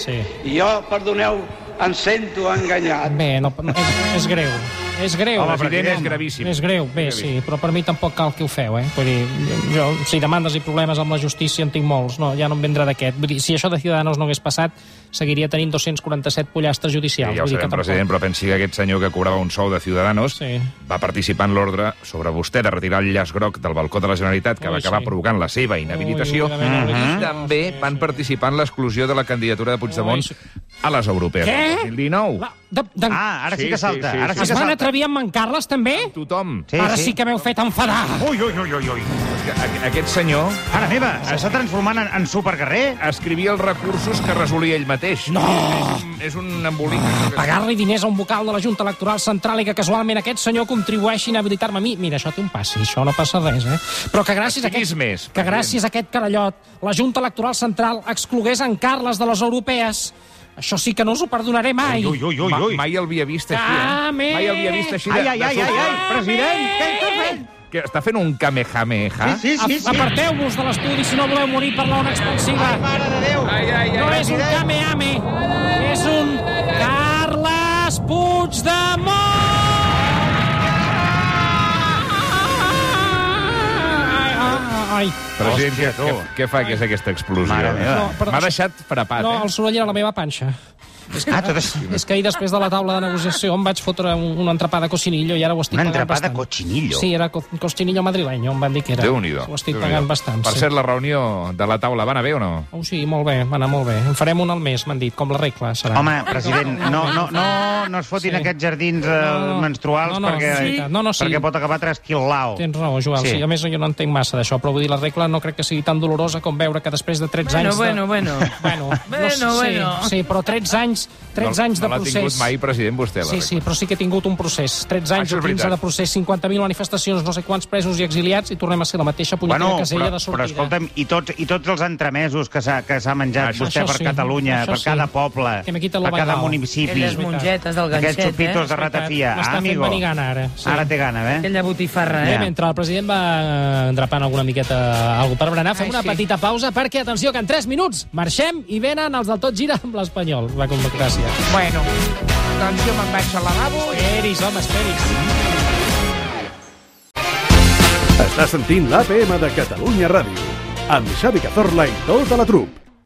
[SPEAKER 17] I jo, perdoneu, em sento enganyat.
[SPEAKER 4] Eh, Bé, no, no, eh, és, és greu. és greu.
[SPEAKER 3] Home, president, és gravíssim.
[SPEAKER 4] És greu, bé, sí, però per mi tampoc cal que ho feu, eh? Vull dir, jo, si demandes i problemes amb la justícia en tinc molts, no, ja no em vendrà d'aquest. Vull dir, si això de Ciudadanos no hagués passat, seguiria tenint 247 pollastres judicials.
[SPEAKER 3] Ja ho
[SPEAKER 4] Vull dir que
[SPEAKER 3] sabem,
[SPEAKER 4] tampoc-
[SPEAKER 3] president, però pensi que aquest senyor que cobrava un sou de Ciudadanos
[SPEAKER 4] Sí.
[SPEAKER 3] va participar en l'ordre sobre vostè de retirar el llaç groc del balcó de la Generalitat que
[SPEAKER 4] Ui,
[SPEAKER 3] va acabar
[SPEAKER 4] sí.
[SPEAKER 3] provocant la seva inhabilitació
[SPEAKER 4] Ui, ui, ui, ui, ui.
[SPEAKER 3] i també van participar en l'exclusió de la candidatura de Puigdemont a les europees.
[SPEAKER 4] Què?
[SPEAKER 3] del 2019.
[SPEAKER 4] De, de...
[SPEAKER 3] Ah, ara sí que salta, ara sí
[SPEAKER 4] es
[SPEAKER 3] que
[SPEAKER 4] van
[SPEAKER 3] salta.
[SPEAKER 4] atrevir a mancar-les, també?
[SPEAKER 3] Tothom.
[SPEAKER 4] ara sí, que m'heu fet enfadar.
[SPEAKER 6] Ui, ui, ui, ui, ui.
[SPEAKER 3] Aquest senyor...
[SPEAKER 6] Ara meva, s'està transformant en, en supercarrer?
[SPEAKER 3] Escrivia els recursos que resolia ell mateix. No! És un, és un embolic.
[SPEAKER 4] Pagar-li diners a un vocal de la Junta Electoral Central i que casualment aquest senyor contribueixi a inhabilitar-me a mi. Mira, això té un passi, això no passa res, eh? Però que gràcies a aquest,
[SPEAKER 3] més,
[SPEAKER 4] que gràcies a aquest carallot la Junta Electoral Central exclogués en Carles de les europees. Això sí que no us ho perdonaré mai.
[SPEAKER 3] Ma- Mai el havia vist així, eh?
[SPEAKER 4] Came!
[SPEAKER 3] Mai el havia vist així de...
[SPEAKER 4] Ai, ai,
[SPEAKER 3] de
[SPEAKER 4] ai,
[SPEAKER 3] sobte.
[SPEAKER 4] ai, ai, president, què hi estàs fent?
[SPEAKER 3] Que està fent un kamehameha.
[SPEAKER 4] A- Aparteu-vos de l'estudi si no voleu morir per l'ona expansiva. Ai, mare de Déu! Ai, ai, ai, no és un Kameame, és un Carles Puigdemont! Ai,
[SPEAKER 3] President, què, què, què fa, que és aquesta explosió?
[SPEAKER 6] Mare meva.
[SPEAKER 4] No, però-
[SPEAKER 3] M'ha deixat frapat,
[SPEAKER 4] no,
[SPEAKER 3] eh?
[SPEAKER 4] el soroll era la meva panxa. És que,
[SPEAKER 6] Ah, tot això.
[SPEAKER 4] és que ahir, després de la taula de negociació, em vaig fotre un, un entrepà de cocinillo i ara ho estic
[SPEAKER 6] Un
[SPEAKER 4] pagant
[SPEAKER 6] entrepà de
[SPEAKER 4] bastant.
[SPEAKER 6] cochinillo?
[SPEAKER 4] Sí, era co cochinillo madrileño, em van dir que era.
[SPEAKER 3] Déu-n'hi-do.
[SPEAKER 4] Ho estic
[SPEAKER 3] Déu-n'hi-do.
[SPEAKER 4] pagant bastant,
[SPEAKER 3] Per
[SPEAKER 4] sí.
[SPEAKER 3] cert, la reunió de la taula va anar bé o no?
[SPEAKER 4] Oh, sí, molt bé, va anar molt bé. En farem un al mes, m'han dit, com la regla serà.
[SPEAKER 6] Home, Ah, president, no, no, no, no es fotin sí. aquests jardins eh,
[SPEAKER 4] No, no.
[SPEAKER 6] menstruals
[SPEAKER 4] No, no,
[SPEAKER 6] perquè,
[SPEAKER 4] sí. No, no, sí.
[SPEAKER 6] perquè pot acabar trasquilao.
[SPEAKER 4] Tens raó, Joel. Sí. sí. A més, jo no entenc massa d'això, però vull dir, la regla no crec que sigui tan dolorosa com veure que després de 13
[SPEAKER 9] Bueno,
[SPEAKER 4] anys... De...
[SPEAKER 9] bueno, bueno.
[SPEAKER 4] bueno,
[SPEAKER 9] Bueno,
[SPEAKER 4] no, sé,
[SPEAKER 9] bueno.
[SPEAKER 4] Sí, sí, però 13 anys, 13 anys de
[SPEAKER 3] no l'ha
[SPEAKER 4] procés...
[SPEAKER 3] tingut mai, president, vostè, la
[SPEAKER 4] Sí, sí, però sí que he tingut un procés. 13 anys
[SPEAKER 3] Això
[SPEAKER 4] o
[SPEAKER 3] és
[SPEAKER 4] 15 de
[SPEAKER 3] veritat.
[SPEAKER 4] procés, 50.000 manifestacions, no sé quants presos i exiliats, i tornem a ser la mateixa punyetera
[SPEAKER 6] Bueno,
[SPEAKER 4] casella
[SPEAKER 6] però,
[SPEAKER 4] de
[SPEAKER 6] però
[SPEAKER 4] sortida.
[SPEAKER 6] escolta'm, i tots, i tots els entremesos que s'ha que s'ha menjat
[SPEAKER 4] Això
[SPEAKER 6] vostè
[SPEAKER 4] sí,
[SPEAKER 6] per Catalunya,
[SPEAKER 4] això
[SPEAKER 6] per
[SPEAKER 4] sí.
[SPEAKER 6] cada poble,
[SPEAKER 4] Que me
[SPEAKER 6] per
[SPEAKER 4] quita lo
[SPEAKER 6] cada
[SPEAKER 4] bacalao.
[SPEAKER 6] municipi,
[SPEAKER 9] Aquelles mongetes del ganxet,
[SPEAKER 6] aquests xupitos
[SPEAKER 9] eh?
[SPEAKER 6] de ratafia.
[SPEAKER 4] M'està
[SPEAKER 6] Ah,
[SPEAKER 4] fent
[SPEAKER 6] amigo,
[SPEAKER 4] venir gana, ara. Sí.
[SPEAKER 6] ara té gana, eh?
[SPEAKER 9] Aquella botifarra,
[SPEAKER 4] Eh,
[SPEAKER 9] eh?
[SPEAKER 4] mentre el president va eh, endrapant alguna miqueta algú per berenar, fem una
[SPEAKER 9] Ai, sí.
[SPEAKER 4] petita pausa perquè, atenció, que en 3 minuts marxem i venen els del tot gira amb l'Espanyol. Va, com gràcies.
[SPEAKER 11] Bueno, doncs jo me'n vaig al lavabo i...
[SPEAKER 4] Esperis, home, esperis.
[SPEAKER 7] Està sentint l'APM de Catalunya Ràdio, amb Xavi Cazorla i tota la trup.